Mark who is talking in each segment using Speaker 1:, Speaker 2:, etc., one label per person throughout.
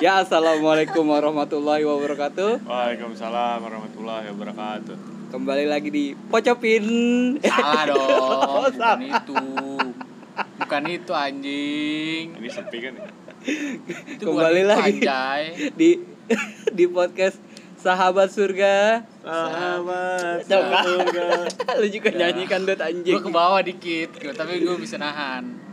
Speaker 1: Ya assalamualaikum warahmatullahi wabarakatuh.
Speaker 2: Waalaikumsalam warahmatullahi wabarakatuh.
Speaker 1: Kembali lagi di Pocopin.
Speaker 3: Salah dong,
Speaker 1: Oh,
Speaker 3: bukan itu. Bukan itu anjing.
Speaker 2: Ini sepi kan? ya?
Speaker 3: Itu
Speaker 1: Kembali
Speaker 3: bukan
Speaker 1: lagi.
Speaker 3: itu, anjay.
Speaker 1: di di podcast Sahabat Surga.
Speaker 2: Sahabat
Speaker 1: Tuh, kan?
Speaker 2: surga.
Speaker 1: Lu juga
Speaker 3: Ya.
Speaker 1: nyanyikan dot anjing.
Speaker 3: Gue ke bawah dikit, gua- tapi gue bisa nahan.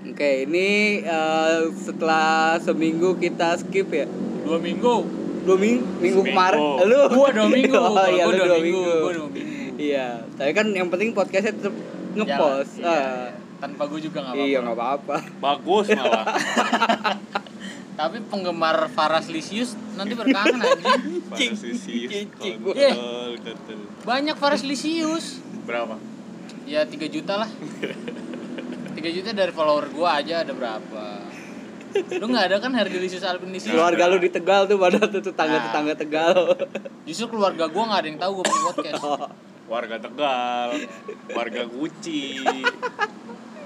Speaker 1: Oke, ini eh, setelah seminggu kita skip ya.
Speaker 3: Dua minggu.
Speaker 1: Dua minggu, minggu
Speaker 2: Seminggu.
Speaker 1: kemarin. Lu
Speaker 3: Gua dua minggu.
Speaker 1: Oh,
Speaker 3: Kalau
Speaker 1: iya,
Speaker 3: gua
Speaker 1: lu
Speaker 3: dua
Speaker 1: dua
Speaker 3: minggu,
Speaker 1: minggu.
Speaker 3: gua dua minggu.
Speaker 1: Iya, tapi kan yang penting podcastnya tetap ngepost.
Speaker 3: Jalan, iya,
Speaker 1: Ah.
Speaker 3: iya. Tanpa gue juga nggak
Speaker 1: Iya,
Speaker 3: apa-apa.
Speaker 1: nggak apa-apa.
Speaker 2: Bagus malah.
Speaker 3: Tapi penggemar Faras Lisius nanti berkangen anjing.
Speaker 2: Pada sisi
Speaker 1: Cing, gua.
Speaker 2: kontol kontol.
Speaker 3: Banyak Faras Lisius.
Speaker 2: Berapa?
Speaker 3: Ya 3 juta lah. 3 juta dari follower gue aja ada berapa? Lu nggak ada kan Hardy Lisius Alvin Lisius?
Speaker 1: Keluarga lu di Tegal tuh pada tuh
Speaker 3: Nah.
Speaker 1: tetangga-tetangga Tegal.
Speaker 3: Justru keluarga gue nggak ada yang tahu gue punya podcast.
Speaker 2: Warga Tegal, warga Guci.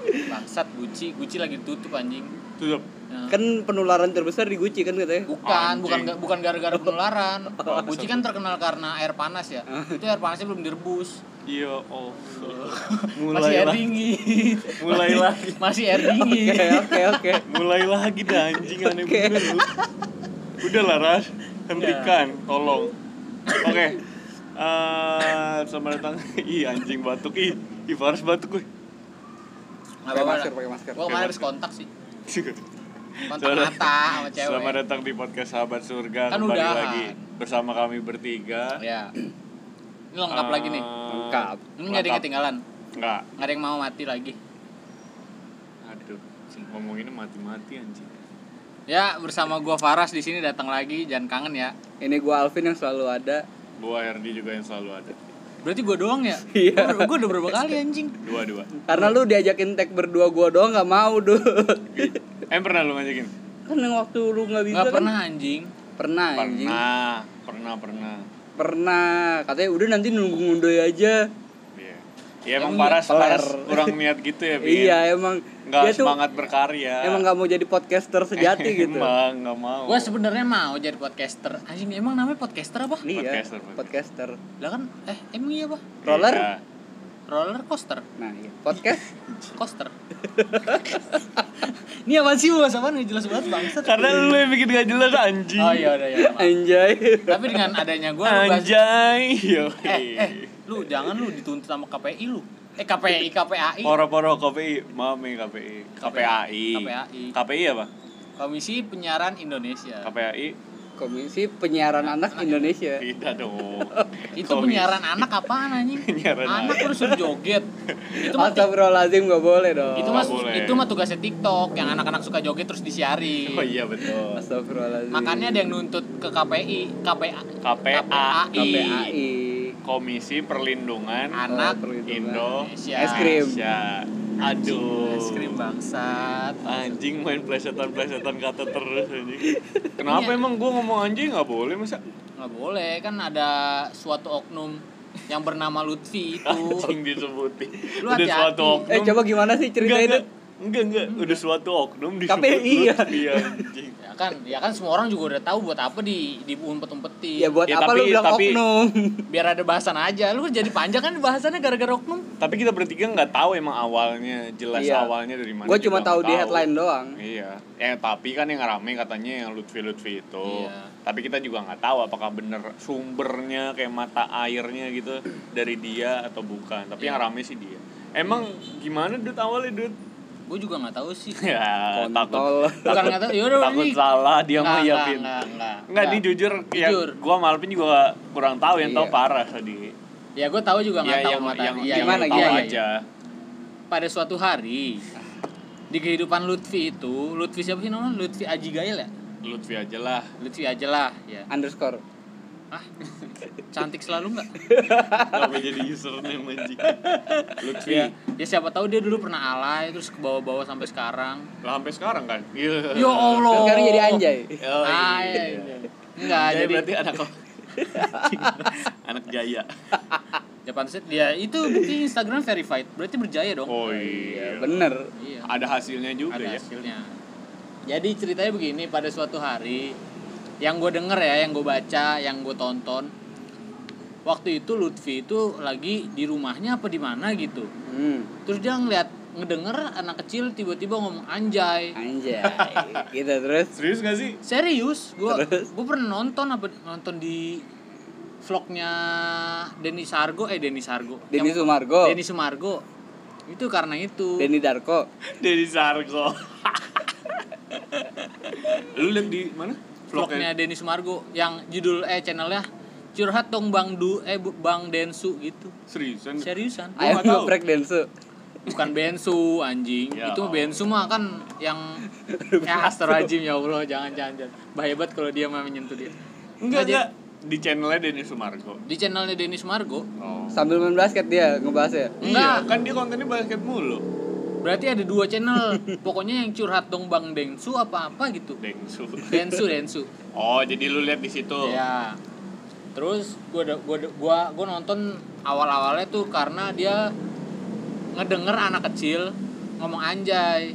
Speaker 3: Bangsat Gucci, Gucci lagi tutup anjing.
Speaker 2: Tutup.
Speaker 3: Nah,
Speaker 1: kan penularan terbesar di Gucci kan katanya.
Speaker 3: bukan, bukan
Speaker 2: Anjing.
Speaker 3: bukan gara-gara penularan.
Speaker 2: Bangsat.
Speaker 3: Gucci kan terkenal karena air panas ya. Itu air panasnya belum direbus.
Speaker 2: Iya, oh.
Speaker 3: Masih
Speaker 2: Mulai
Speaker 3: air
Speaker 2: lagi.
Speaker 3: dingin.
Speaker 2: Mulai
Speaker 3: Masih-
Speaker 2: lagi.
Speaker 3: Masih air dingin.
Speaker 1: Oke, oke, oke.
Speaker 2: Mulai lagi dah anjing aneh
Speaker 1: Oke.
Speaker 2: bener lu. Udah lah Ras,
Speaker 1: Ya.
Speaker 2: hentikan, tolong. Oke. Eh, selamat datang. Ih anjing batuk ih. Ih Faras batuk gue.
Speaker 3: Nggak
Speaker 1: Pakai
Speaker 3: apa-apa.
Speaker 1: masker, pakai masker.
Speaker 3: Gua kemarin habis kontak sih. Kontak
Speaker 2: Selamat-
Speaker 3: mata sama cewek.
Speaker 2: Selamat datang di podcast Sahabat Surga
Speaker 3: Kan
Speaker 2: kembali
Speaker 3: udahan.
Speaker 2: lagi bersama kami bertiga.
Speaker 3: Ya. Ini lengkap
Speaker 2: Eh,
Speaker 3: lagi nih.
Speaker 1: Lengkap.
Speaker 3: Ini
Speaker 2: Ah,
Speaker 3: nggak ada yang
Speaker 2: lengkap.
Speaker 3: ketinggalan.
Speaker 2: Enggak.
Speaker 3: Nggak ada yang mau mati lagi.
Speaker 2: Aduh, ngomonginnya mati-mati anjing.
Speaker 3: Ya, bersama gua Faras di sini datang lagi, jangan kangen ya.
Speaker 1: Ini gua Alvin yang selalu ada.
Speaker 2: Gua RD juga yang selalu ada.
Speaker 3: Berarti gua doang ya?
Speaker 1: Iya.
Speaker 3: Gua, gua udah berapa kali anjing?
Speaker 2: Dua-dua.
Speaker 1: Karena lu diajakin tag berdua gua doang nggak mau dulu.
Speaker 2: Em pernah lu ngajakin?
Speaker 1: kan yang waktu lu nggak bisa
Speaker 3: Nggak
Speaker 1: kan?
Speaker 3: pernah anjing.
Speaker 1: Pernah, anjing.
Speaker 2: Pernah, pernah, pernah.
Speaker 1: Pernah. Katanya udah nanti nunggu ngundoy aja.
Speaker 2: Iya. Ya emang
Speaker 3: Emang
Speaker 2: Faras,
Speaker 1: peler.
Speaker 2: Faras kurang niat gitu ya, pingin.
Speaker 1: Iya, emang
Speaker 2: Nggak
Speaker 1: dia tuh
Speaker 2: semangat berkarya.
Speaker 1: emang nggak mau jadi podcaster sejati gitu.
Speaker 2: Emang nggak mau.
Speaker 3: Gua sebenarnya mau jadi podcaster. Anjing, emang namanya podcaster apa?
Speaker 1: Iya, podcaster.
Speaker 2: Podcaster,
Speaker 3: Lah kan eh emang iya apa?
Speaker 1: Roller.
Speaker 2: Iya.
Speaker 3: Roller coaster,
Speaker 1: Nah, iya. podcast
Speaker 3: coaster. Ini apa sih bahasa apaan? Nggak jelas banget bangsat.
Speaker 2: Karena lu yang bikin gak jelas anjing.
Speaker 3: Oh iya udah ya. maaf.
Speaker 1: anjay.
Speaker 3: Tapi dengan adanya gua lu bahas-
Speaker 2: Anjay. Yo.
Speaker 3: eh, eh, lu jangan lu dituntut sama KPI lu. Eh KPI KPAI.
Speaker 2: Poro-poro KPI, mami KPI, KPAI.
Speaker 3: KPAI.
Speaker 2: KPI apa?
Speaker 3: Komisi Penyiaran Indonesia.
Speaker 2: KPAI.
Speaker 1: Komisi Penyiaran Anak Indonesia.
Speaker 2: Tidak dong.
Speaker 3: Itu
Speaker 2: Komisi.
Speaker 3: penyiaran anak apaan anjing?
Speaker 2: Penyiaran
Speaker 3: anak
Speaker 2: anak.
Speaker 3: terus suruh joget. Itu mah
Speaker 1: Astagfirullahaladzim Oh, nggak boleh dong.
Speaker 3: itu mas
Speaker 2: nggak boleh.
Speaker 3: itu mah tugasnya TikTok yang anak-anak suka joget terus disiarin.
Speaker 2: Oh iya betul.
Speaker 1: Astagfirullahaladzim.
Speaker 3: Makanya ada yang nuntut ke KPI, KPA,
Speaker 2: KPAI.
Speaker 3: KPAI.
Speaker 1: KPAI.
Speaker 2: Komisi Perlindungan
Speaker 3: Anak
Speaker 1: gitu,
Speaker 2: Indo
Speaker 3: Indonesia.
Speaker 1: Es krim.
Speaker 2: Indonesia. Aduh.
Speaker 3: Iya. Es krim bangsat.
Speaker 2: Anjing main plesetan-plesetan kata terus anjing. Kenapa
Speaker 3: Iya.
Speaker 2: emang gua ngomong anjing nggak boleh masa?
Speaker 3: Nggak boleh kan ada suatu oknum yang bernama Lutfi itu.
Speaker 2: Anjing disebutin.
Speaker 3: Lu
Speaker 2: Udah
Speaker 3: hati-hati.
Speaker 2: suatu oknum.
Speaker 1: Eh coba gimana sih ceritain
Speaker 2: enggak,
Speaker 1: deh.
Speaker 2: enggak, enggak, udah suatu oknum di
Speaker 1: KPI, ya.
Speaker 2: Iya, anjing.
Speaker 3: ya kan, ya kan semua orang juga udah tahu buat apa di diumpet-umpetin.
Speaker 1: Ya buat
Speaker 2: Ya,
Speaker 1: apa lu
Speaker 2: tapi-
Speaker 1: bilang
Speaker 2: tapi-
Speaker 1: oknum?
Speaker 3: biar ada bahasan aja. Lu jadi panjang kan bahasannya gara-gara oknum.
Speaker 2: Tapi kita bertiga nggak tahu emang awalnya jelas
Speaker 1: Iya.
Speaker 2: awalnya dari mana.
Speaker 1: Gue
Speaker 2: juga
Speaker 1: cuma
Speaker 2: nggak
Speaker 1: tahu di headline doang.
Speaker 2: Iya. Eh tapi kan yang rame katanya yang Lutfi Lutfi itu.
Speaker 3: Iya.
Speaker 2: Tapi kita juga nggak tahu apakah bener sumbernya kayak mata airnya gitu dari dia atau bukan. Tapi
Speaker 1: Iya.
Speaker 2: yang rame sih dia. Emang gimana Dut awalnya Dut?
Speaker 3: Gue juga nggak tahu sih.
Speaker 2: Ya,
Speaker 1: Kontol.
Speaker 2: takut,
Speaker 3: Bukan
Speaker 2: takut,
Speaker 3: nggak tahu, yaudah,
Speaker 2: takut
Speaker 3: ini-
Speaker 2: salah dia mah
Speaker 3: Nggak,
Speaker 2: ya,
Speaker 3: nggak,
Speaker 2: Vin.
Speaker 3: nggak, nggak,
Speaker 2: Enggak, ini
Speaker 3: nggak.
Speaker 2: jujur, ya
Speaker 3: Jujur.
Speaker 2: gua malpin juga kurang tahu yang tahu
Speaker 1: Iya.
Speaker 2: parah tadi.
Speaker 3: Ya gue tahu juga
Speaker 2: Ya,
Speaker 3: nggak tahu
Speaker 2: yang,
Speaker 3: mata.
Speaker 2: yang,
Speaker 3: Iya,
Speaker 2: yang
Speaker 1: gimana,
Speaker 3: iya,
Speaker 2: tahu
Speaker 3: iya, iya.
Speaker 2: aja.
Speaker 3: Pada suatu hari di kehidupan Lutfi itu, Lutfi siapa sih namanya? Lutfi Aji Gail ya?
Speaker 2: Lutfi aja lah.
Speaker 3: Lutfi aja lah ya.
Speaker 1: Underscore.
Speaker 3: Ah, cantik selalu nggak?
Speaker 2: Kenapa jadi username anjing? Lutfi.
Speaker 3: Ya, ya siapa tahu dia dulu pernah alay terus ke bawah-bawah sampai sekarang.
Speaker 2: Lah sampai sekarang kan? Iya.
Speaker 3: Ya Allah.
Speaker 1: Kan sekarang jadi anjay.
Speaker 2: Oh, iya.
Speaker 3: Ah, iya, iya. Enggak,
Speaker 2: Jaya
Speaker 3: jadi
Speaker 2: berarti anak anak jaya.
Speaker 3: Ya pantesan dia itu bukti Instagram verified. Berarti berjaya dong.
Speaker 2: Oh iya.
Speaker 1: Bener.
Speaker 3: Iya.
Speaker 2: Ada hasilnya juga
Speaker 3: ada
Speaker 2: ya.
Speaker 3: hasilnya. Jadi ceritanya begini, pada suatu hari yang gue denger ya, yang gue baca, yang gue tonton, waktu itu Lutfi itu lagi di rumahnya apa di mana gitu.
Speaker 1: Hmm.
Speaker 3: Terus dia ngeliat ngedenger anak kecil tiba-tiba ngomong anjay.
Speaker 1: Anjay. gitu terus.
Speaker 2: Serius gak sih?
Speaker 3: Serius, gue
Speaker 1: Terus?
Speaker 3: gue pernah nonton apa nonton di vlognya Denny Sargo eh Denny Sargo
Speaker 1: Denny
Speaker 3: Yang-
Speaker 1: Sumargo.
Speaker 3: Denny Sumargo itu karena itu
Speaker 1: Denny Darko.
Speaker 2: Denny Sarko. Lu liat di mana?
Speaker 3: vlognya Denny Sumargo yang judul eh channelnya curhat dong Bang Du eh Bu- Bang Densu gitu
Speaker 2: Seriusan?
Speaker 3: seriusan
Speaker 2: Gua
Speaker 1: Ayam
Speaker 2: nggak tahu.
Speaker 1: geprek Densu.
Speaker 3: bukan Bensu anjing
Speaker 2: Ya
Speaker 3: itu
Speaker 2: Allah.
Speaker 3: Bensu mah kan yang ya astrologim ya Allah jangan jangan, jangan. bahaya banget kalau dia mah menyentuh dia
Speaker 2: Enggak,
Speaker 3: Aja.
Speaker 2: enggak. Di channelnya Denny Sumargo.
Speaker 3: di channelnya Denny Sumargo
Speaker 2: Oh.
Speaker 1: Sambil main basket dia ya. ngebahasnya.
Speaker 2: Iya,
Speaker 3: Enggak.
Speaker 2: kan dia kontennya basket mulu.
Speaker 3: berarti ada dua channel pokoknya yang curhat dong Bang Densu apa apa gitu
Speaker 2: Dengsu.
Speaker 3: Densu Densu
Speaker 2: Oh, jadi lu lihat di situ.
Speaker 3: Ya. Terus gua da- gua da- gua gua nonton awal-awalnya tuh karena dia ngedenger anak kecil ngomong anjay.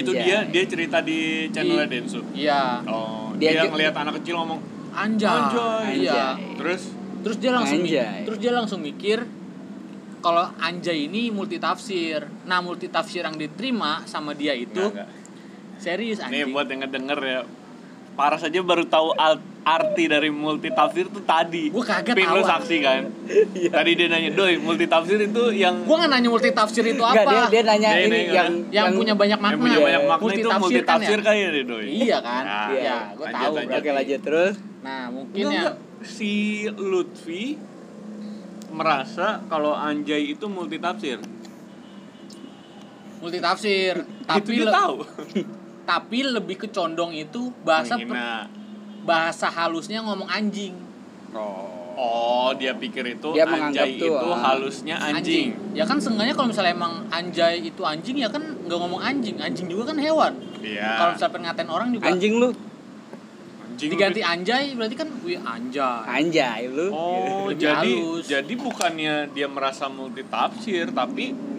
Speaker 2: Itu
Speaker 1: Anjay.
Speaker 2: dia dia cerita di channelnya
Speaker 3: iya, Di-
Speaker 2: Densu.
Speaker 3: Iya,
Speaker 2: Oh,
Speaker 1: Dia
Speaker 2: dia,
Speaker 1: ju-
Speaker 2: ngelihat anak kecil ngomong.
Speaker 3: anjay.
Speaker 2: Anjay.
Speaker 3: Iya.
Speaker 1: Anjay.
Speaker 2: Terus
Speaker 3: Terus dia langsung mi-
Speaker 1: Anjay.
Speaker 3: terus dia langsung mikir kalau anjay ini multitafsir. Nah, multitafsir yang diterima sama dia itu
Speaker 2: Enggak, enggak.
Speaker 3: serius
Speaker 2: Nih
Speaker 3: anjing.
Speaker 2: buat yang ngedenger ya Paras aja baru tahu al- arti dari multitafsir tuh tadi.
Speaker 3: Gua kaget
Speaker 2: Pin lu
Speaker 3: awal.
Speaker 2: saksi kan. Tadi dia nanya, "Doi, multitafsir itu yang
Speaker 3: Gua nggak nanya multitafsir itu apa.
Speaker 1: Enggak, dia dia nanya
Speaker 2: Dia-
Speaker 1: ini
Speaker 2: dia nggak-
Speaker 1: yang,
Speaker 3: yang, punya banyak makna.
Speaker 2: yang punya banyak makna itu
Speaker 3: Multitafsir
Speaker 2: multitafsir
Speaker 3: kan ya?
Speaker 2: kan ya, Doi?"
Speaker 3: Iya kan?
Speaker 2: Nah,
Speaker 3: Iya, gua
Speaker 2: lanjut,
Speaker 3: tahu.
Speaker 2: lanjut.
Speaker 3: berarti.
Speaker 1: Oke lanjut terus.
Speaker 3: Nah, mungkin
Speaker 2: Enggak,
Speaker 3: ya
Speaker 2: enggak. Si Lutfi merasa kalau anjay itu multitafsir.
Speaker 3: multitafsir
Speaker 2: Tapi
Speaker 3: tapi
Speaker 2: itu dia
Speaker 3: le-
Speaker 2: Gitu tahu.
Speaker 3: tapi lebih ke condong itu bahasa per-
Speaker 2: Menghina.
Speaker 3: bahasa halusnya ngomong anjing
Speaker 1: Oh.
Speaker 2: Oh, dia pikir itu
Speaker 1: Dia menganggap
Speaker 2: anjay
Speaker 1: tuh,
Speaker 2: itu
Speaker 1: ah.
Speaker 2: halusnya anjing.
Speaker 3: ya kan seenggaknya kalau misalnya emang anjay itu anjing ya kan nggak ngomong anjing anjing juga kan hewan kalau
Speaker 2: Iya.
Speaker 3: misalnya pengen ngatain orang juga
Speaker 1: Anjing lu.
Speaker 2: Anjing
Speaker 3: diganti anjay berarti kan wih anjay
Speaker 1: Anjay lu.
Speaker 2: Oh,
Speaker 3: Lebih
Speaker 2: jadi
Speaker 3: halus.
Speaker 2: jadi bukannya dia merasa multitafsir, tapi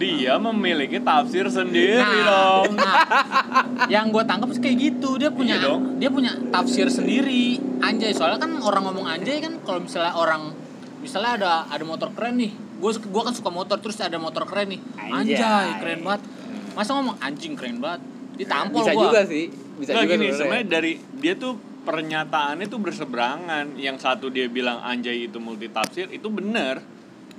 Speaker 2: dia memiliki tafsir sendiri dong.
Speaker 3: nah, yang gue tangkap sih kayak gitu dia punya
Speaker 2: Iya dong.
Speaker 3: dia punya tafsir sendiri anjay soalnya kan orang ngomong anjay kan kalau misalnya orang misalnya ada ada motor keren nih gue gua kan suka motor terus ada motor keren nih anjay,
Speaker 1: Anjay.
Speaker 3: keren banget masa ngomong anjing keren banget ditampol
Speaker 1: Bisa
Speaker 3: gua
Speaker 1: juga sih. Bisa
Speaker 2: Nggak,
Speaker 1: juga
Speaker 2: gini,
Speaker 1: sebenarnya.
Speaker 2: sebenarnya dari dia tuh pernyataannya tuh berseberangan. Yang satu dia bilang anjay itu multitafsir, itu benar.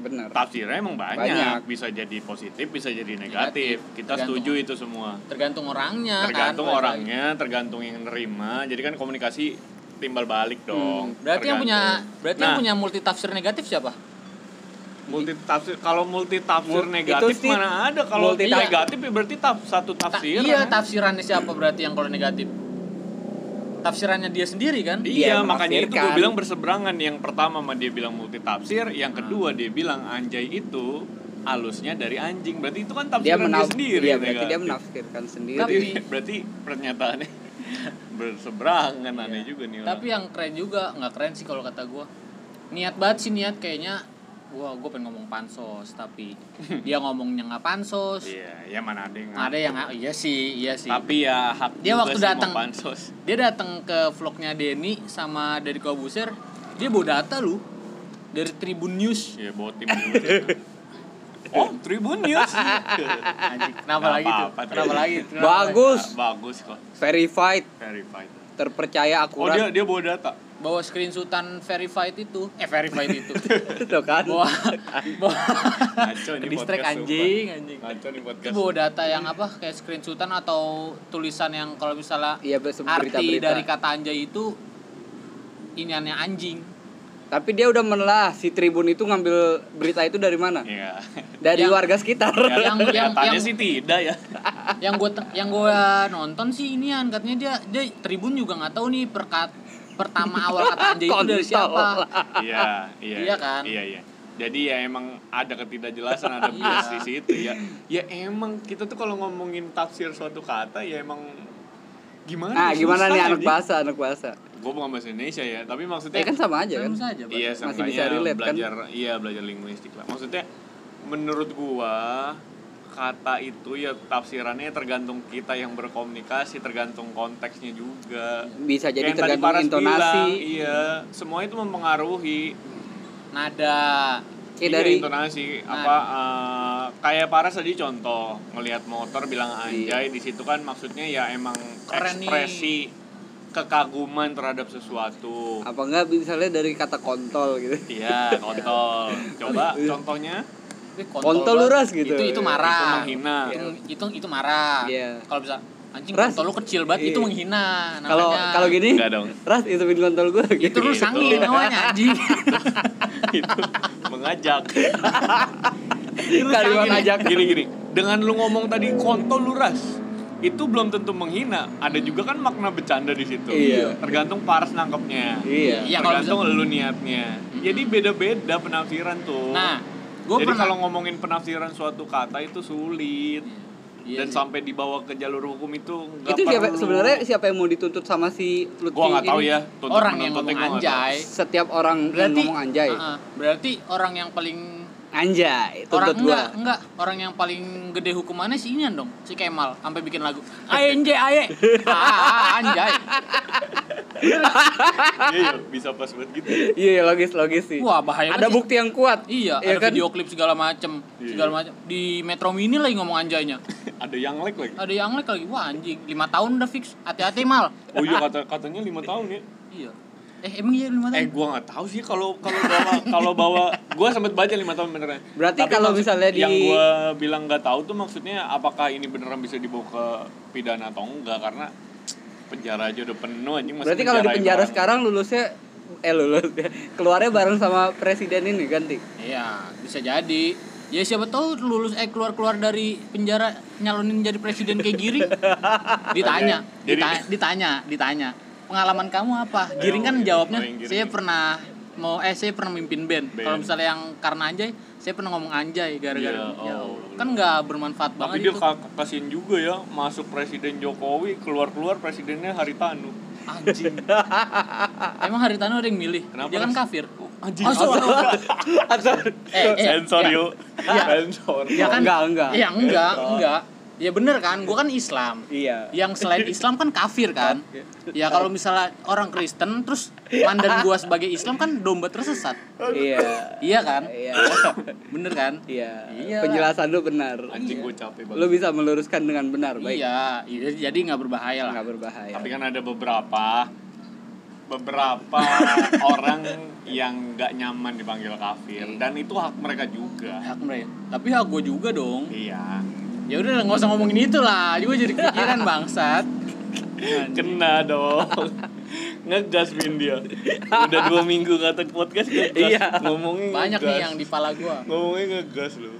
Speaker 1: Bener.
Speaker 2: Tafsirnya emang banyak.
Speaker 1: Banyak.
Speaker 2: bisa jadi positif, bisa jadi negatif.
Speaker 3: Negatif,
Speaker 2: Kita
Speaker 3: tergantung.
Speaker 2: setuju itu semua.
Speaker 3: tergantung orangnya
Speaker 2: Tergantung
Speaker 3: kan,
Speaker 2: orangnya, tergantung yang nerima. Jadi kan komunikasi timbal balik dong.
Speaker 3: berarti yang punya
Speaker 2: tergantung.
Speaker 3: berarti yang
Speaker 2: Nah,
Speaker 3: punya multi tafsir negatif siapa
Speaker 2: multi tafsir kalau multi tafsir
Speaker 1: Mul-
Speaker 2: negatif
Speaker 1: itu sih
Speaker 2: mana ada kalau
Speaker 1: multi-
Speaker 2: negatif ya berarti taf- satu kan?
Speaker 3: Ta-
Speaker 2: tafsiran
Speaker 3: iya tafsirannya siapa berarti yang kalau negatif tafsirannya dia sendiri kan
Speaker 2: Iya,
Speaker 1: Dia
Speaker 2: makanya itu gue
Speaker 1: menafsirkan.
Speaker 2: bilang berseberangan yang pertama mah dia bilang multi tafsir yang kedua dia bilang anjay itu alusnya dari anjing berarti itu kan
Speaker 1: Dia
Speaker 2: tafsiran dia,
Speaker 1: menaf
Speaker 2: sendiri ya kan?
Speaker 1: Iya, berarti dia
Speaker 2: negatif.
Speaker 1: menafsirkan sendiri.
Speaker 2: berarti,
Speaker 3: Tapi-
Speaker 2: berarti pernyataannya berseberangan aneh juga nih orang.
Speaker 3: Iya. Tapi yang keren juga nggak keren sih kalau kata gua Niat banget sih niat kayaknya. Wah, gue pengen ngomong pansos tapi dia ngomongnya nggak pansos.
Speaker 2: iya ya mana ada yang
Speaker 3: Ada yang iya sih, iya sih.
Speaker 2: tapi ya hak
Speaker 3: Dia
Speaker 2: juga
Speaker 3: waktu
Speaker 2: sih mau
Speaker 3: datang.
Speaker 2: pansos
Speaker 3: Dia datang ke vlognya Denny sama dari Kobuser, dia bawa data lu dari Tribun News.
Speaker 2: ya bawa tim dulu. oh Tribun News
Speaker 3: Anjing, kenapa
Speaker 2: Nggak
Speaker 3: lagi tuh?
Speaker 2: apa-apa,
Speaker 3: Kenapa
Speaker 2: Tribun.
Speaker 3: lagi? Kenapa lagi?
Speaker 1: Bagus.
Speaker 2: bagus kok
Speaker 1: Verified,
Speaker 2: verified
Speaker 1: terpercaya,
Speaker 2: Oh
Speaker 1: akurat.
Speaker 2: dia dia bawa data.
Speaker 3: Bawa screenshotan verified itu, eh verified itu.
Speaker 1: Tuh kan.
Speaker 3: Bawa bawa
Speaker 2: Ngaco nih
Speaker 3: distract
Speaker 2: podcast,
Speaker 3: anjing,
Speaker 2: sumpah.
Speaker 3: anjing.
Speaker 2: Ngaco nih podcast.
Speaker 3: Itu bawa data yang apa kayak screenshotan atau tulisan yang kalau misalnya
Speaker 1: Iya, berita
Speaker 3: arti
Speaker 1: berita.
Speaker 3: dari kata anjay itu iniannya anjing.
Speaker 1: Tapi dia udah menelah si Tribun itu ngambil berita itu dari mana?
Speaker 2: Iya.
Speaker 1: Dari
Speaker 3: Yang-
Speaker 1: warga sekitar.
Speaker 2: Ya,
Speaker 3: Yang- yang-
Speaker 2: kelihatannya
Speaker 3: yang-
Speaker 2: sih tidak ya.
Speaker 3: yang gue yang gua nonton sih inian katanya dia dia Tribun juga nggak tahu nih perkat pertama awal kata anjay itu dari siapa.
Speaker 2: Iya, iya.
Speaker 3: Iya kan?
Speaker 2: Iya, iya. Jadi ya emang ada ketidakjelasan, ada
Speaker 1: Iya.
Speaker 2: bias di situ ya. Ya emang kita tuh kalau ngomongin tafsir suatu kata ya emang gimana?
Speaker 1: Nah, gimana
Speaker 2: Susah,
Speaker 1: nih anak
Speaker 2: anjing.
Speaker 1: bahasa, anak bahasa.
Speaker 2: gue bukan bahasa Indonesia ya tapi maksudnya
Speaker 1: Ya kan sama aja kan.
Speaker 3: Terus aja, Pak.
Speaker 2: iya
Speaker 1: Masih
Speaker 2: sangkanya
Speaker 1: bisa relate, kan?
Speaker 2: belajar iya belajar linguistik lah maksudnya menurut gua kata itu ya tafsirannya tergantung kita yang berkomunikasi tergantung konteksnya juga
Speaker 1: Bisa jadi
Speaker 2: Kayak yang tadi
Speaker 1: tergantung
Speaker 2: Paras
Speaker 1: intonasi.
Speaker 2: bilang, iya semua itu mempengaruhi
Speaker 3: Nada.
Speaker 1: Kayak
Speaker 2: Iya,
Speaker 1: dari Nah.
Speaker 2: intonasi apa eh, kayak Paras tadi contoh ngelihat motor bilang "Ah,
Speaker 1: Iya.
Speaker 2: anjay di situ kan maksudnya ya emang
Speaker 3: Keren nih.
Speaker 2: ekspresi kekaguman terhadap sesuatu
Speaker 1: apa enggak misalnya dari kata kontol gitu.
Speaker 2: Iya, kontol. Coba contohnya
Speaker 3: Tapi
Speaker 1: Kontol lu,
Speaker 3: banget.
Speaker 1: Ras, gitu.
Speaker 3: Itu itu
Speaker 2: itu
Speaker 3: marah.
Speaker 2: menghina.
Speaker 3: Itu itu, itu marah.
Speaker 1: Iya.
Speaker 3: Kalau bisa anjing
Speaker 1: Ras.
Speaker 3: kontol lu kecil banget
Speaker 1: Iya.
Speaker 3: itu menghina
Speaker 2: Nah,
Speaker 3: namanya.
Speaker 1: Kalau kalau gini,
Speaker 2: Enggak dong.
Speaker 1: Ras itu kontol gue
Speaker 3: itu
Speaker 1: gitu.
Speaker 3: lu
Speaker 2: Gitu.
Speaker 3: sanggih namanya anjing.
Speaker 2: itu mengajak.
Speaker 3: Itu
Speaker 1: Kalimat
Speaker 3: sanggih.
Speaker 1: ajak.
Speaker 2: Gini gini. Dengan lu ngomong tadi kontol luras, itu belum tentu menghina. Ada juga kan makna bercanda di situ.
Speaker 1: Iya.
Speaker 2: Tergantung paras nangkepnya.
Speaker 1: Iya.
Speaker 3: Iya, kalau
Speaker 2: Tergantung lu niatnya. Jadi beda-beda penafsiran tuh.
Speaker 3: Nah, gua
Speaker 2: Jadi
Speaker 3: pernah
Speaker 2: kalau ngomongin penafsiran suatu kata itu sulit.
Speaker 3: Iya
Speaker 2: Dan
Speaker 3: sih.
Speaker 2: sampai dibawa ke jalur hukum itu nggak
Speaker 1: Itu siapa
Speaker 2: perlu.
Speaker 1: sebenarnya siapa yang mau dituntut sama si Lutfi?
Speaker 2: gua nggak tahu
Speaker 1: ini?
Speaker 2: ya
Speaker 3: orang yang
Speaker 2: menuntutnya gua
Speaker 3: ngomong
Speaker 2: nggak tahu.
Speaker 3: anjay
Speaker 1: Setiap orang yang
Speaker 3: berarti
Speaker 1: ngomong anjay.
Speaker 3: Heeh, berarti orang yang paling
Speaker 1: Anjay,
Speaker 3: orang
Speaker 1: tuntut
Speaker 3: enggak
Speaker 1: gua.
Speaker 3: enggak orang yang paling gede hukumannya si Inian dong si Kemal sampai bikin lagu aye anjay aye Ah, ah, ah, anjay
Speaker 2: Iya, iya, bisa pas banget gitu.
Speaker 1: Iya, logis logis sih.
Speaker 3: wah bahaya
Speaker 1: Ada
Speaker 3: banget sih.
Speaker 1: bukti yang kuat.
Speaker 3: iya
Speaker 1: Iya
Speaker 3: ada
Speaker 1: kan?
Speaker 3: video klip segala macem
Speaker 2: Iya.
Speaker 3: segala macem di Metro Mini lagi ngomong anjaynya
Speaker 2: Ada yang like lagi.
Speaker 3: ada yang like lagi wah anjing lima tahun udah fix hati-hati mal
Speaker 2: Oh iya kata katanya lima tahun ya.
Speaker 3: iya eh emang iya lima
Speaker 2: Eh
Speaker 3: tahun
Speaker 2: gua nggak tahu sih kalau kalau bawa kalau bawa gua sempet baca lima tahun beneran.
Speaker 1: Berarti kalau
Speaker 2: maksud-
Speaker 1: misalnya di-
Speaker 2: yang gua bilang nggak tahu tuh maksudnya apakah ini beneran bisa dibawa ke pidana atau enggak karena penjara aja udah penuh anjing masih
Speaker 1: Berarti kalau di
Speaker 2: penjarain
Speaker 1: penjara
Speaker 2: orang.
Speaker 1: sekarang lulusnya eh lulus ya. Keluarnya bareng sama presiden ini ganti.
Speaker 3: iya bisa jadi ya siapa tahu lulus eh keluar keluar dari penjara nyalonin jadi presiden kayak Giring ditanya
Speaker 2: Jadi-
Speaker 3: ditanya ditanya ditanya pengalaman kamu apa
Speaker 2: Ayo,
Speaker 3: Giring kan
Speaker 2: ayo,
Speaker 3: jawabnya
Speaker 2: ayo, Giring.
Speaker 3: saya pernah mau eh saya pernah mimpin band,
Speaker 2: Band.
Speaker 3: kalau misalnya yang karena anjay saya pernah ngomong anjay gara-gara
Speaker 2: Iya,
Speaker 3: Ya
Speaker 2: oh.
Speaker 3: Allah. kan nggak bermanfaat
Speaker 2: Tapi
Speaker 3: banget
Speaker 2: dia
Speaker 3: itu.
Speaker 2: ka- kasihan juga ya masuk presiden Jokowi keluar-keluar presidennya Haritanu.
Speaker 3: Anjing. Emang Haritano ada yang milih?
Speaker 2: Kenapa,
Speaker 3: Dia kan
Speaker 2: Ras?
Speaker 3: kafir.
Speaker 2: Anjing.
Speaker 3: Oh, sorry. Eh, eh,
Speaker 2: Sensor
Speaker 3: ya.
Speaker 2: yuk.
Speaker 3: Iya.
Speaker 2: Sensor.
Speaker 3: Ya kan?
Speaker 1: Enggak, enggak.
Speaker 3: Ya enggak,
Speaker 2: Oh.
Speaker 3: enggak. Ya bener kan, gua kan Islam.
Speaker 1: Iya.
Speaker 3: Yang selain Islam kan kafir kan? Ya kalau misalnya orang Kristen terus mandan gua sebagai Islam kan domba tersesat.
Speaker 1: Iya.
Speaker 3: Iya kan?
Speaker 1: Iya.
Speaker 3: Bener kan?
Speaker 1: Iya.
Speaker 3: Iyalah.
Speaker 1: Penjelasan lu benar.
Speaker 2: Anjing gue capek banget.
Speaker 1: Lu bisa meluruskan dengan benar, baik.
Speaker 3: Iya, iya, jadi nggak berbahaya lah.
Speaker 1: Enggak berbahaya.
Speaker 3: Iya.
Speaker 2: Tapi kan ada beberapa beberapa orang yang nggak nyaman dipanggil kafir
Speaker 3: Iya.
Speaker 2: dan itu hak mereka juga.
Speaker 3: Hak mereka. Ya, Tapi hak gua juga dong.
Speaker 2: Iya.
Speaker 3: Ya udah nggak usah ngomongin itu lah. Gua jadi kepikiran bangsat.
Speaker 2: Kena dong. Ngegas Vin dia. Udah dua minggu kata podcast ngegas.
Speaker 1: Iya.
Speaker 2: Ngomongnya
Speaker 3: Banyak
Speaker 2: ngegas.
Speaker 3: nih yang di pala gua.
Speaker 2: ngomongnya ngegas lu.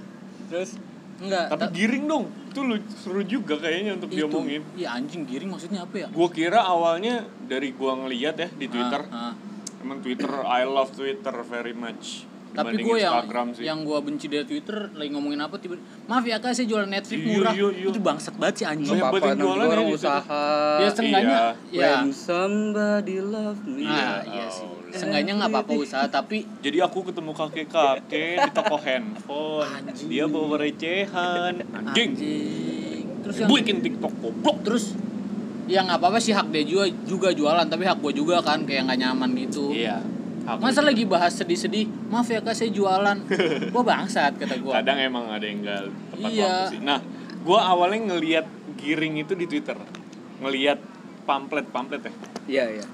Speaker 1: terus
Speaker 3: Enggak.
Speaker 2: Tapi
Speaker 3: ta-
Speaker 2: giring dong. Itu lu seru juga kayaknya untuk
Speaker 3: itu.
Speaker 2: diomongin.
Speaker 3: Iya anjing giring maksudnya apa ya?
Speaker 2: Gua kira awalnya dari gua ngeliat ya di Twitter.
Speaker 3: Ah, ah.
Speaker 2: Emang Twitter I love Twitter very much.
Speaker 3: Tapi
Speaker 2: Dibanding
Speaker 3: gue yang
Speaker 2: Instagram sih.
Speaker 3: yang gue benci dari Twitter lagi ngomongin apa tiba maaf ya kak saya jual Netflix
Speaker 2: Iya,
Speaker 3: murah
Speaker 2: iya, iya.
Speaker 3: itu bangsat banget sih anjing.
Speaker 2: Iya.
Speaker 1: apa
Speaker 2: penting
Speaker 1: apa
Speaker 2: jualan
Speaker 1: orang
Speaker 2: ya di situ.
Speaker 1: usaha.
Speaker 3: Ya seenggaknya
Speaker 1: When
Speaker 3: ya.
Speaker 1: somebody love me.
Speaker 3: Nah, iya sih. Seenggaknya nggak apa-apa usaha tapi
Speaker 2: Jadi aku ketemu kakek-kakek di toko handphone. Dia bawa recehan. Anjing.
Speaker 3: anjing. Terus yang
Speaker 2: Bikin TikTok goblok.
Speaker 3: terus ya nggak apa-apa sih hak dia juga juga jualan tapi hak gue juga kan kayak nggak nyaman gitu.
Speaker 2: Iya. Aku
Speaker 3: Masa lagi bahas sedih-sedih, maaf ya kak saya jualan. gue bangsat kata gue.
Speaker 2: kadang emang ada yang enggak tepat
Speaker 3: Iya.
Speaker 2: waktu sih. Nah, gua awalnya ngelihat giring itu di Twitter. Ngelihat pamflet-pamflet ya.
Speaker 1: Iya, iya.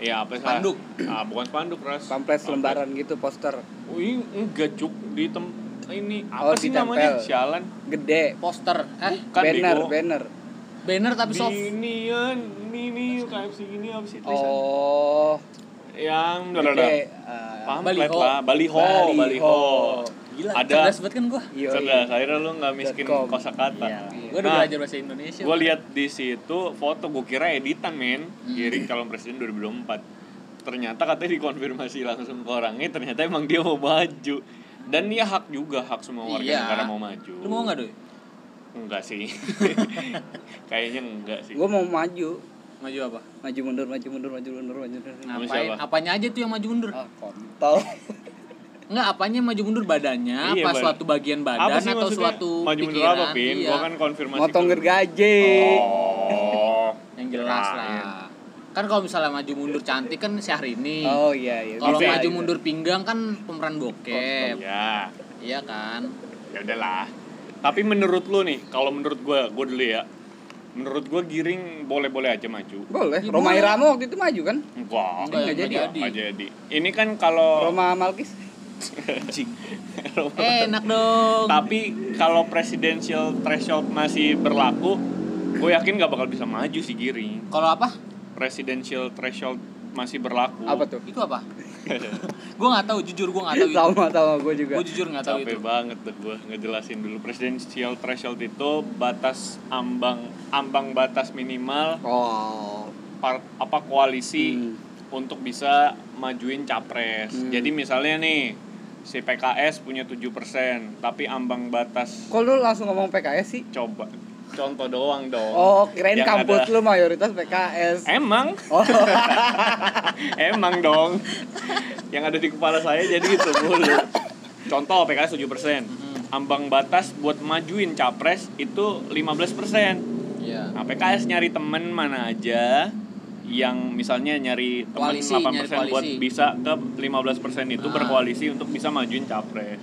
Speaker 2: Ya apa sih? lah?
Speaker 3: Spanduk.
Speaker 2: Ah, bukan spanduk, Ras.
Speaker 1: Pamflet selembaran gitu poster
Speaker 2: Oh, ini enggak cuk di tem ini
Speaker 1: Oh,
Speaker 2: apa sih
Speaker 1: ditempel.
Speaker 2: namanya? Sialan.
Speaker 1: gede,
Speaker 3: Poster, eh
Speaker 2: Kan
Speaker 1: banner,
Speaker 2: bego.
Speaker 1: banner.
Speaker 3: banner tapi soft.
Speaker 2: Binian, mini, KFC gini apa sih? tulisan?
Speaker 1: Oh,
Speaker 2: Yang
Speaker 1: gede. eh,
Speaker 2: pamflet
Speaker 3: Baliho.
Speaker 2: lah baliho
Speaker 1: Baliho.
Speaker 2: baliho,
Speaker 3: Gila,
Speaker 2: ada
Speaker 3: cerdas banget kan gue.
Speaker 1: yoi.
Speaker 2: cerdas akhirnya lu nggak miskin
Speaker 1: Dot com.
Speaker 2: kosakata
Speaker 3: Iya, gue
Speaker 2: Nah.
Speaker 3: udah belajar bahasa Indonesia.
Speaker 2: gue lihat di situ foto gue kira editan men
Speaker 3: Hmm.
Speaker 2: giring calon presiden 2024 ternyata katanya dikonfirmasi langsung ke orangnya ternyata emang dia mau maju dan dia hak juga hak semua warga
Speaker 3: Iya.
Speaker 2: negara mau maju
Speaker 3: Lu mau nggak doi?
Speaker 2: enggak sih kayaknya enggak sih
Speaker 1: Gue mau maju.
Speaker 3: maju apa
Speaker 1: maju mundur maju mundur maju mundur maju mundur
Speaker 2: Sama
Speaker 3: ngapain
Speaker 2: siapa?
Speaker 3: apanya aja tuh yang maju mundur
Speaker 1: ah kontol
Speaker 3: Enggak, apanya maju mundur badannya,
Speaker 2: Iya,
Speaker 3: apa
Speaker 2: Bang.
Speaker 3: suatu bagian badan atau
Speaker 2: maksudnya?
Speaker 3: suatu
Speaker 2: maju
Speaker 3: pikiran?
Speaker 2: mundur apa pin
Speaker 3: Iya.
Speaker 2: gua kan konfirmasi
Speaker 1: motong
Speaker 2: ke-
Speaker 1: gergaji
Speaker 2: oh
Speaker 3: yang jelas lah.
Speaker 2: kirain.
Speaker 3: Kan kalau misalnya maju mundur cantik kan Syahrini.
Speaker 1: oh iya iya
Speaker 3: kalau
Speaker 2: bisa
Speaker 3: maju mundur pinggang kan pemeran bokep.
Speaker 2: ya
Speaker 3: Iya kan?
Speaker 2: ya udahlah tapi menurut lu nih kalau menurut gua gua dulu ya menurut gua giring boleh-boleh aja maju
Speaker 1: boleh
Speaker 3: Iya,
Speaker 1: Roma
Speaker 3: boleh.
Speaker 1: Irama waktu itu maju kan
Speaker 2: Oh, enggak
Speaker 3: Enggak, ya,
Speaker 1: nggak jadi.
Speaker 2: enggak jadi ini kan
Speaker 3: Oh.
Speaker 2: kalau
Speaker 1: Roma Malkis
Speaker 3: Eh, enak dong.
Speaker 2: tapi kalau presidential threshold masih berlaku gue yakin gak bakal bisa maju sih giring
Speaker 3: Kalau apa?
Speaker 2: presidential threshold masih berlaku
Speaker 1: apa tuh
Speaker 3: Itu apa? gua nggak tahu, jujur gua nggak tahu itu.
Speaker 1: sama sama gue juga
Speaker 3: Gua jujur nggak tahu
Speaker 2: capek
Speaker 3: itu.
Speaker 2: banget tuh gue ngejelasin dulu presidential threshold itu batas ambang ambang batas minimal
Speaker 1: oh
Speaker 2: par- apa koalisi untuk bisa majuin capres
Speaker 1: Hmm.
Speaker 2: jadi misalnya nih si PKS punya 7% tapi ambang batas
Speaker 1: kok lu langsung ngomong PKS sih
Speaker 2: coba contoh doang dong
Speaker 1: oh kirain
Speaker 2: Yang
Speaker 1: kampus
Speaker 2: ada-
Speaker 1: lu mayoritas PKS
Speaker 2: Emang.
Speaker 1: Oh.
Speaker 2: Emang dong. Yang ada di kepala saya jadi itu mulu. Contoh PKS 7%.
Speaker 1: Hmm.
Speaker 2: Ambang batas buat majuin capres itu 15%.
Speaker 3: Iya.
Speaker 2: Nah, PKS nyari temen mana aja yang misalnya nyari temen
Speaker 3: Koalisi,
Speaker 2: 8%
Speaker 3: nyari
Speaker 2: buat
Speaker 3: koalisi.
Speaker 2: bisa ke 15% itu
Speaker 3: Ah.
Speaker 2: berkoalisi untuk bisa majuin capres.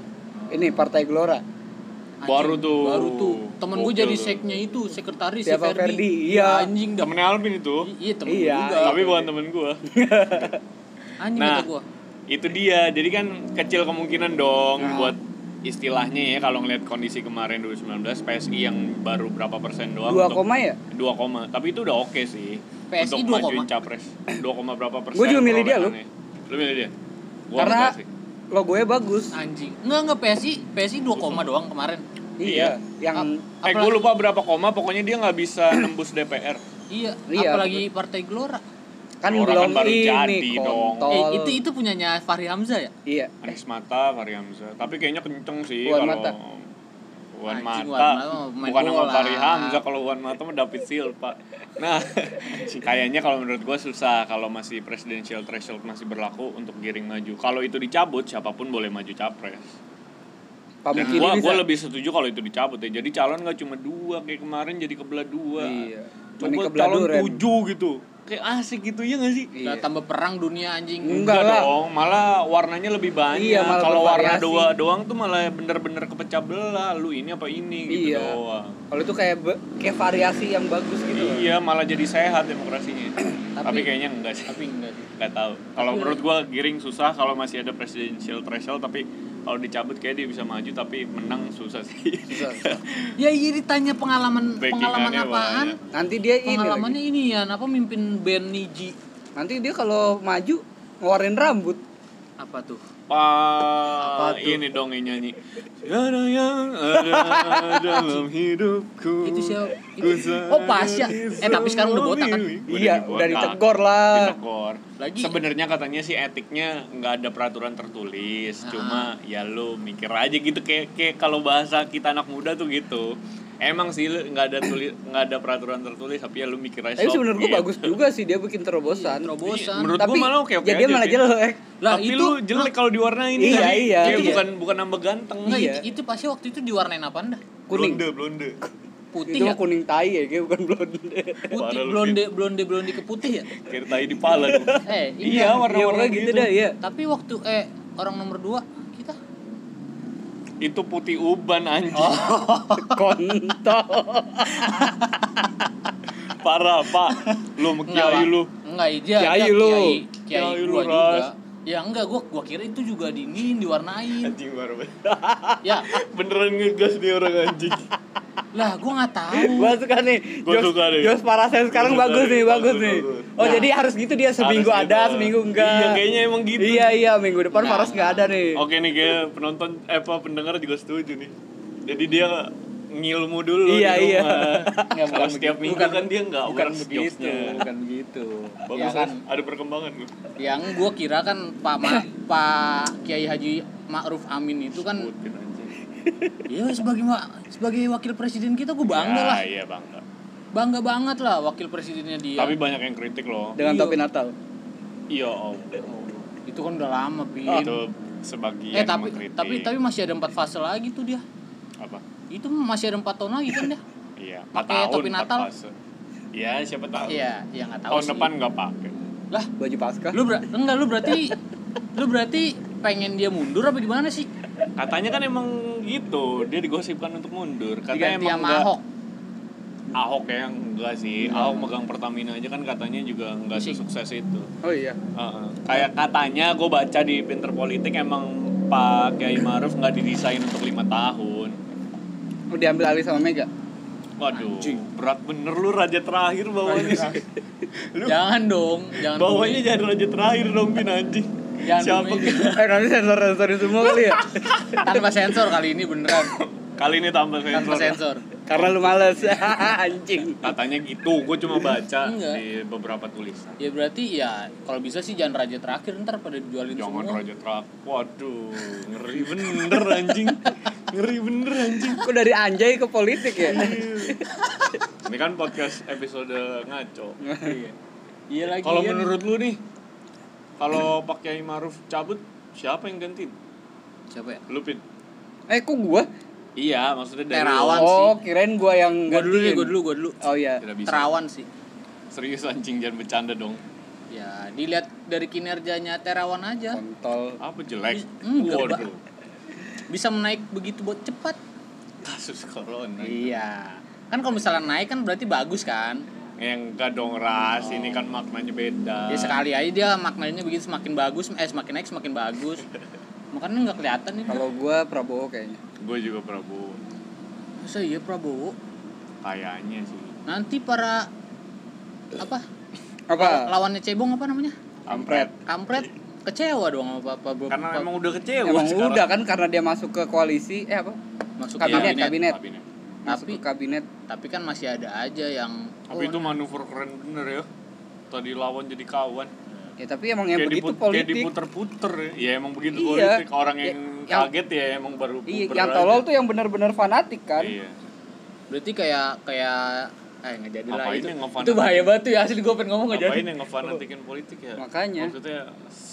Speaker 1: ini Partai Gelora
Speaker 3: Anjing,
Speaker 2: Baru tuh.
Speaker 3: Baru tuh. Temen gua
Speaker 2: Gokil
Speaker 3: jadi
Speaker 2: tuh.
Speaker 3: seknya itu, sekretaris si
Speaker 1: Siapa,
Speaker 3: Ferdi.
Speaker 1: Ferdi? Iya.
Speaker 3: Anjing dah.
Speaker 2: Temennya Alvin itu.
Speaker 3: Iya, temen
Speaker 1: Iya.
Speaker 3: gua juga.
Speaker 2: Tapi bukan temen gua.
Speaker 3: Anjing
Speaker 2: Nah.
Speaker 3: kata gua.
Speaker 2: itu dia jadi kan kecil kemungkinan dong
Speaker 3: Ah.
Speaker 2: buat istilahnya ya kalau ngelihat kondisi kemarin 2019 PSI yang baru berapa persen doang
Speaker 1: dua
Speaker 2: untuk-
Speaker 1: koma ya
Speaker 2: dua koma tapi itu udah oke sih
Speaker 3: PSI
Speaker 2: untuk
Speaker 3: dua
Speaker 2: majuin
Speaker 3: koma.
Speaker 2: capres 2 koma berapa persen
Speaker 1: Gua juga milih dia, lu.
Speaker 2: perolehannya. lu milih dia gua
Speaker 1: Karena-
Speaker 2: enggak sih.
Speaker 1: lo gue bagus
Speaker 3: Anjing. Enggak, enggak PSI, PSI 2 koma doang kemarin.
Speaker 2: Iya.
Speaker 1: yang
Speaker 2: eh gue lupa berapa koma pokoknya dia nggak bisa nembus DPR
Speaker 3: Iya,
Speaker 1: Iya,
Speaker 3: apalagi Partai Gelora.
Speaker 1: kan
Speaker 2: Orang
Speaker 1: belum
Speaker 2: kan baru
Speaker 1: ini
Speaker 2: jadi dong.
Speaker 1: kontol.
Speaker 3: Eh, itu itu punyanya Fahri Hamzah ya?
Speaker 1: iya
Speaker 2: Anies Mata Fahri Hamzah tapi kayaknya kenceng sih
Speaker 1: Wan
Speaker 2: kalau
Speaker 1: Mata.
Speaker 2: Wan Mata,
Speaker 3: Anjing, Wan Mata mah main
Speaker 2: bukan sama
Speaker 3: bola.
Speaker 2: Fahri Hamzah kalau Wan Mata mah David Silva nah kayaknya kalau menurut gue susah kalau masih presidential threshold masih berlaku untuk giring maju kalau itu dicabut siapapun boleh maju capres dan
Speaker 1: pamukini
Speaker 2: gue
Speaker 1: bisa
Speaker 2: gua lebih setuju kalau itu dicabut ya jadi calon gak cuma dua kayak kemarin jadi kebelah dua
Speaker 1: Iya. Mending
Speaker 2: coba
Speaker 1: kebelah
Speaker 2: calon
Speaker 1: duren.
Speaker 2: tujuh gitu kayak asik gitu ya gak sih
Speaker 1: Iya.
Speaker 3: Udah tambah perang dunia anjing.
Speaker 1: Hmm.
Speaker 2: Enggak,
Speaker 1: Enggak lah.
Speaker 2: dong, malah warnanya lebih banyak.
Speaker 1: Iya, malah
Speaker 2: Kalau warna
Speaker 1: bervariasi.
Speaker 2: dua doang tuh malah bener-bener kepecah belah. Lu ini apa ini gitu
Speaker 1: Iya.
Speaker 2: doang.
Speaker 1: kalau itu kayak be- kayak variasi yang bagus gitu loh
Speaker 2: Iya, malah jadi sehat demokrasinya. Tapi,
Speaker 3: Tapi-
Speaker 2: kayaknya enggak sih.
Speaker 3: Tapi enggak sih.
Speaker 2: Enggak tahu. Kalau menurut gua Giring susah kalau masih ada presidential threshold tapi kalau dicabut kayak dia bisa maju tapi menang susah sih.
Speaker 1: Susah, susah.
Speaker 3: Ya iya ditanya pengalaman pengalaman
Speaker 2: Backingannya
Speaker 3: apaan?
Speaker 2: banyak.
Speaker 1: nanti dia ini lagi.
Speaker 3: Pengalamannya ini ya, apa mimpin band Niji?
Speaker 1: nanti dia kalau maju ngeluarin rambut
Speaker 3: Apa tuh?
Speaker 2: Pa,
Speaker 3: Apa
Speaker 2: Ah,
Speaker 3: tuh?
Speaker 2: ini dong yang nyanyi. Ada yang ada dalam hidupku.
Speaker 3: Itu siapa?
Speaker 2: Ku
Speaker 3: Itu- oh, Pasha.
Speaker 2: sadari
Speaker 3: Eh, tapi sekarang udah
Speaker 2: semua
Speaker 3: botak kan?
Speaker 2: diri-
Speaker 1: iya
Speaker 2: Udah
Speaker 1: udah
Speaker 2: dibotak.
Speaker 1: ditegor lah
Speaker 2: Ditegor.
Speaker 3: Lagi-
Speaker 2: Sebenarnya katanya sih etiknya nggak ada peraturan
Speaker 3: Ah.
Speaker 2: tertulis, cuma ya lu mikir aja gitu kayak kayak kalau bahasa kita anak muda tuh gitu. Emang sih lu nggak ada tulis nggak ada peraturan tertulis, tapi ya lu mikir aja.
Speaker 1: tapi
Speaker 2: sok
Speaker 1: sebenarnya gue
Speaker 2: gitu.
Speaker 1: bagus juga sih dia bikin terobosan
Speaker 3: Terobosan.
Speaker 2: Menurut
Speaker 1: tapi
Speaker 2: gua malah oke-oke
Speaker 1: jadi dia
Speaker 2: aja
Speaker 1: malah
Speaker 2: sih.
Speaker 1: jelek
Speaker 3: Lah,
Speaker 2: tapi
Speaker 3: itu-
Speaker 2: lu jelek kalau diwarnain
Speaker 1: Iya,
Speaker 2: kan?
Speaker 1: iya,
Speaker 2: Kayak
Speaker 1: iya.
Speaker 2: bukan bukan nambah ganteng.
Speaker 3: Enggak,
Speaker 1: Iya.
Speaker 3: itu, itu pasti waktu itu diwarnain apaan dah?
Speaker 1: kuning
Speaker 2: Blonde, blonde.
Speaker 1: itu
Speaker 3: Putih ya?
Speaker 1: mah kuning tai ya kayak bukan blonde
Speaker 3: Putih
Speaker 2: Parah lu,
Speaker 3: blonde blonde blonde ke putih ya?
Speaker 2: Kayak tai di pala tuh.
Speaker 3: Eh,
Speaker 2: Iya,
Speaker 3: iya.
Speaker 1: Iya,
Speaker 2: warna-warna
Speaker 1: pokoknya
Speaker 2: gitu.
Speaker 1: gitu dah iya
Speaker 3: Tapi waktu eh orang nomor dua kita
Speaker 2: Itu putih uban anjing.
Speaker 3: Oh. Hmm.
Speaker 1: kontol
Speaker 2: Parah, Pak. Lu sama kiai
Speaker 3: Pak.
Speaker 2: lu.
Speaker 3: Enggak, iya.
Speaker 1: Kiai
Speaker 3: iya,
Speaker 1: lu.
Speaker 3: Kiai, kiai,
Speaker 2: Kiai lu,
Speaker 3: gua
Speaker 2: Ras.
Speaker 3: juga. Ya enggak, gua gua kira itu juga dinin diwarnain.
Speaker 2: Anjing baru.
Speaker 3: ya,
Speaker 2: Beneran ngegas nih orang anjing.
Speaker 3: lah gua nggak tahu.
Speaker 1: Gua suka nih.
Speaker 2: Gua
Speaker 1: Jos,
Speaker 2: suka nih.
Speaker 1: Jos Parasen sekarang
Speaker 2: Gua suka
Speaker 1: bagus
Speaker 2: nih,
Speaker 1: nih, bagus
Speaker 2: bagus,
Speaker 1: nih.
Speaker 2: bagus.
Speaker 1: Oh,
Speaker 3: Nah.
Speaker 1: jadi harus gitu dia seminggu
Speaker 2: Harus
Speaker 1: ada,
Speaker 2: gitu.
Speaker 1: seminggu enggak.
Speaker 2: Iya, kayaknya emang gitu. Oh,
Speaker 1: Iya, iya, minggu depan
Speaker 3: Nah.
Speaker 1: Paras nggak ada nih.
Speaker 2: Oke nih kayak penonton eh apa pendengar juga setuju nih. Jadi dia ngilmu dulu
Speaker 1: Iya,
Speaker 2: di
Speaker 1: iya.
Speaker 2: rumah.
Speaker 3: Nggak,
Speaker 2: Kalau setiap minggu kan dia nggak
Speaker 3: bukan
Speaker 2: works
Speaker 3: begitu,
Speaker 2: jobsnya.
Speaker 3: bukan begitu. ya
Speaker 2: Bagus
Speaker 3: kan,
Speaker 2: kan? Ada perkembangan gue.
Speaker 3: yang gua kira kan Pak Ma- Pak Kiai Haji Ma'ruf Amin itu kan
Speaker 2: Putin anjing.
Speaker 3: ya sebagai wa- sebagai wakil presiden kita gua bangga
Speaker 2: Ya,
Speaker 3: lah.
Speaker 2: Iya, bangga.
Speaker 3: bangga banget lah wakil presidennya dia
Speaker 2: Tapi banyak yang kritik loh.
Speaker 1: dengan
Speaker 3: Iya.
Speaker 1: topi Natal.
Speaker 2: Iya, Om.
Speaker 3: itu kan udah lama pin
Speaker 2: Itu sebagian
Speaker 3: eh
Speaker 2: Ah,
Speaker 3: tapi
Speaker 2: Iya, mengkritik.
Speaker 3: tapi tapi masih ada empat fase lagi tuh dia
Speaker 2: apa?
Speaker 3: itu masih ada empat tahun lagi kan dia
Speaker 2: Iya, empat
Speaker 3: Pakai
Speaker 2: tahun,
Speaker 3: topi
Speaker 2: empat
Speaker 3: Natal.
Speaker 2: fase. Iya, siapa tahu.
Speaker 3: iya ya nggak tahu
Speaker 2: tahun
Speaker 3: sih.
Speaker 2: depan nggak pakai.
Speaker 3: lah
Speaker 1: Baju Paskah.
Speaker 3: lu ber- enggak lu berarti lu berarti pengen dia mundur apa gimana sih
Speaker 2: Katanya kan emang gitu, dia digosipkan untuk mundur. Katanya
Speaker 3: diganti
Speaker 2: emang
Speaker 3: sama
Speaker 2: nggak-
Speaker 3: Ahok Hmm.
Speaker 2: Ahok ya enggak sih. Ahok megang Pertamina aja kan katanya juga nggak
Speaker 3: Pusing.
Speaker 2: sukses itu.
Speaker 1: Oh iya.
Speaker 2: Heeh. Kayak katanya gue baca di Pinter Politik emang Pak Kiai Maruf nggak didesain untuk lima tahun.
Speaker 1: Mau diambil alih sama Mega.
Speaker 2: Waduh, berat bener lu raja terakhir bawahnya. Lu
Speaker 3: jangan dong jangan
Speaker 2: bawahnya
Speaker 3: dong.
Speaker 2: jadi raja terakhir dong bin anjing.
Speaker 3: Jangan
Speaker 2: Siapa gitu?
Speaker 3: bumi.
Speaker 2: kita?
Speaker 1: eh nanti sensor sensorin semua kali ya.
Speaker 3: tanpa sensor kali ini beneran
Speaker 2: Kali ini tambah sensor.
Speaker 3: tanpa
Speaker 2: ya?
Speaker 3: sensor
Speaker 1: Karena lu males anjing.
Speaker 2: Katanya gitu, gue cuma baca
Speaker 3: Enggak.
Speaker 2: di beberapa tulisan.
Speaker 3: ya berarti ya kalau bisa sih jangan raja terakhir ntar pada dijualin
Speaker 2: Jangan
Speaker 3: semua
Speaker 2: raja terakhir. Waduh, ngeri bener anjing. Ngeri bener anjing.
Speaker 1: Kok dari anjay ke politik ya?
Speaker 2: Ini kan podcast episode ngaco.
Speaker 3: iya iya lagi
Speaker 2: Kalau
Speaker 3: iya.
Speaker 2: menurut lu nih, kalau Pak Kiai Maruf cabut, siapa yang gantiin?
Speaker 3: siapa ya
Speaker 2: Lupin.
Speaker 1: eh kok gua?
Speaker 2: Iya, maksudnya dari
Speaker 3: Terawan. Apaan
Speaker 1: oh, kirain gua yang
Speaker 3: gua dulu deh
Speaker 1: gantiin.
Speaker 3: gua dulu gua dulu
Speaker 1: Oh iya.
Speaker 2: ya. Ah, Tidak bisa.
Speaker 3: terawan sih
Speaker 2: Serius anjing jangan bercanda dong.
Speaker 3: ya dilihat dari kinerjanya terawan aja
Speaker 1: Kontol.
Speaker 2: Apa jelek?
Speaker 3: Enggak,
Speaker 2: Waduh.
Speaker 3: bisa menaik begitu buat cepat
Speaker 2: Kasus corona.
Speaker 3: iya kan kalau misalnya naik kan berarti bagus kan
Speaker 2: Yang enggak dong ras, ini kan maknanya beda.
Speaker 1: Iya,
Speaker 3: ya sekali aja dia maknanya begitu semakin bagus eh semakin naik semakin bagus makanya nggak kelihatan nih
Speaker 1: Kalau gua Prabowo kayaknya.
Speaker 2: Gue juga Prabowo.
Speaker 3: masa iya Prabowo
Speaker 2: Kayaknya sih.
Speaker 3: nanti para apa
Speaker 1: Apa?
Speaker 3: lawannya cebong apa namanya
Speaker 1: Kampret.
Speaker 3: kampret kecewa dong sama Pak Prabowo
Speaker 2: Karena emang udah kecewa
Speaker 1: Emang
Speaker 2: sekarang.
Speaker 1: udah kan karena dia masuk ke koalisi eh apa?
Speaker 3: masuk
Speaker 2: Iya,
Speaker 1: kabinet,
Speaker 3: kabinet,
Speaker 1: kabinet.
Speaker 2: kabinet.
Speaker 1: Masuk ke
Speaker 3: Tapi-
Speaker 1: kabinet.
Speaker 3: tapi kan masih ada aja yang
Speaker 1: Oh.
Speaker 2: Tapi itu manuver keren bener ya. Tadi lawan jadi kawan.
Speaker 1: Ya tapi emang yang begitu
Speaker 2: diput- kayak
Speaker 1: politik.
Speaker 2: diputer-puter ya. ya emang begitu
Speaker 1: Iya.
Speaker 2: politik orang yang
Speaker 1: Ya, yang-
Speaker 2: kaget ya emang baru
Speaker 1: Iya,
Speaker 2: puber
Speaker 1: yang
Speaker 2: aja.
Speaker 1: tolol tuh yang benar-benar fanatik kan.
Speaker 2: iya
Speaker 3: berarti kayak kayak eh nggak jadi lah
Speaker 2: Ngapain
Speaker 3: itu
Speaker 2: yang ngefanatik?
Speaker 3: itu bahaya banget tuh ya asli gue pengen ngomong nggak jadi
Speaker 2: ngapain yang ngefanatikin politik ya
Speaker 1: Makanya.
Speaker 2: maksudnya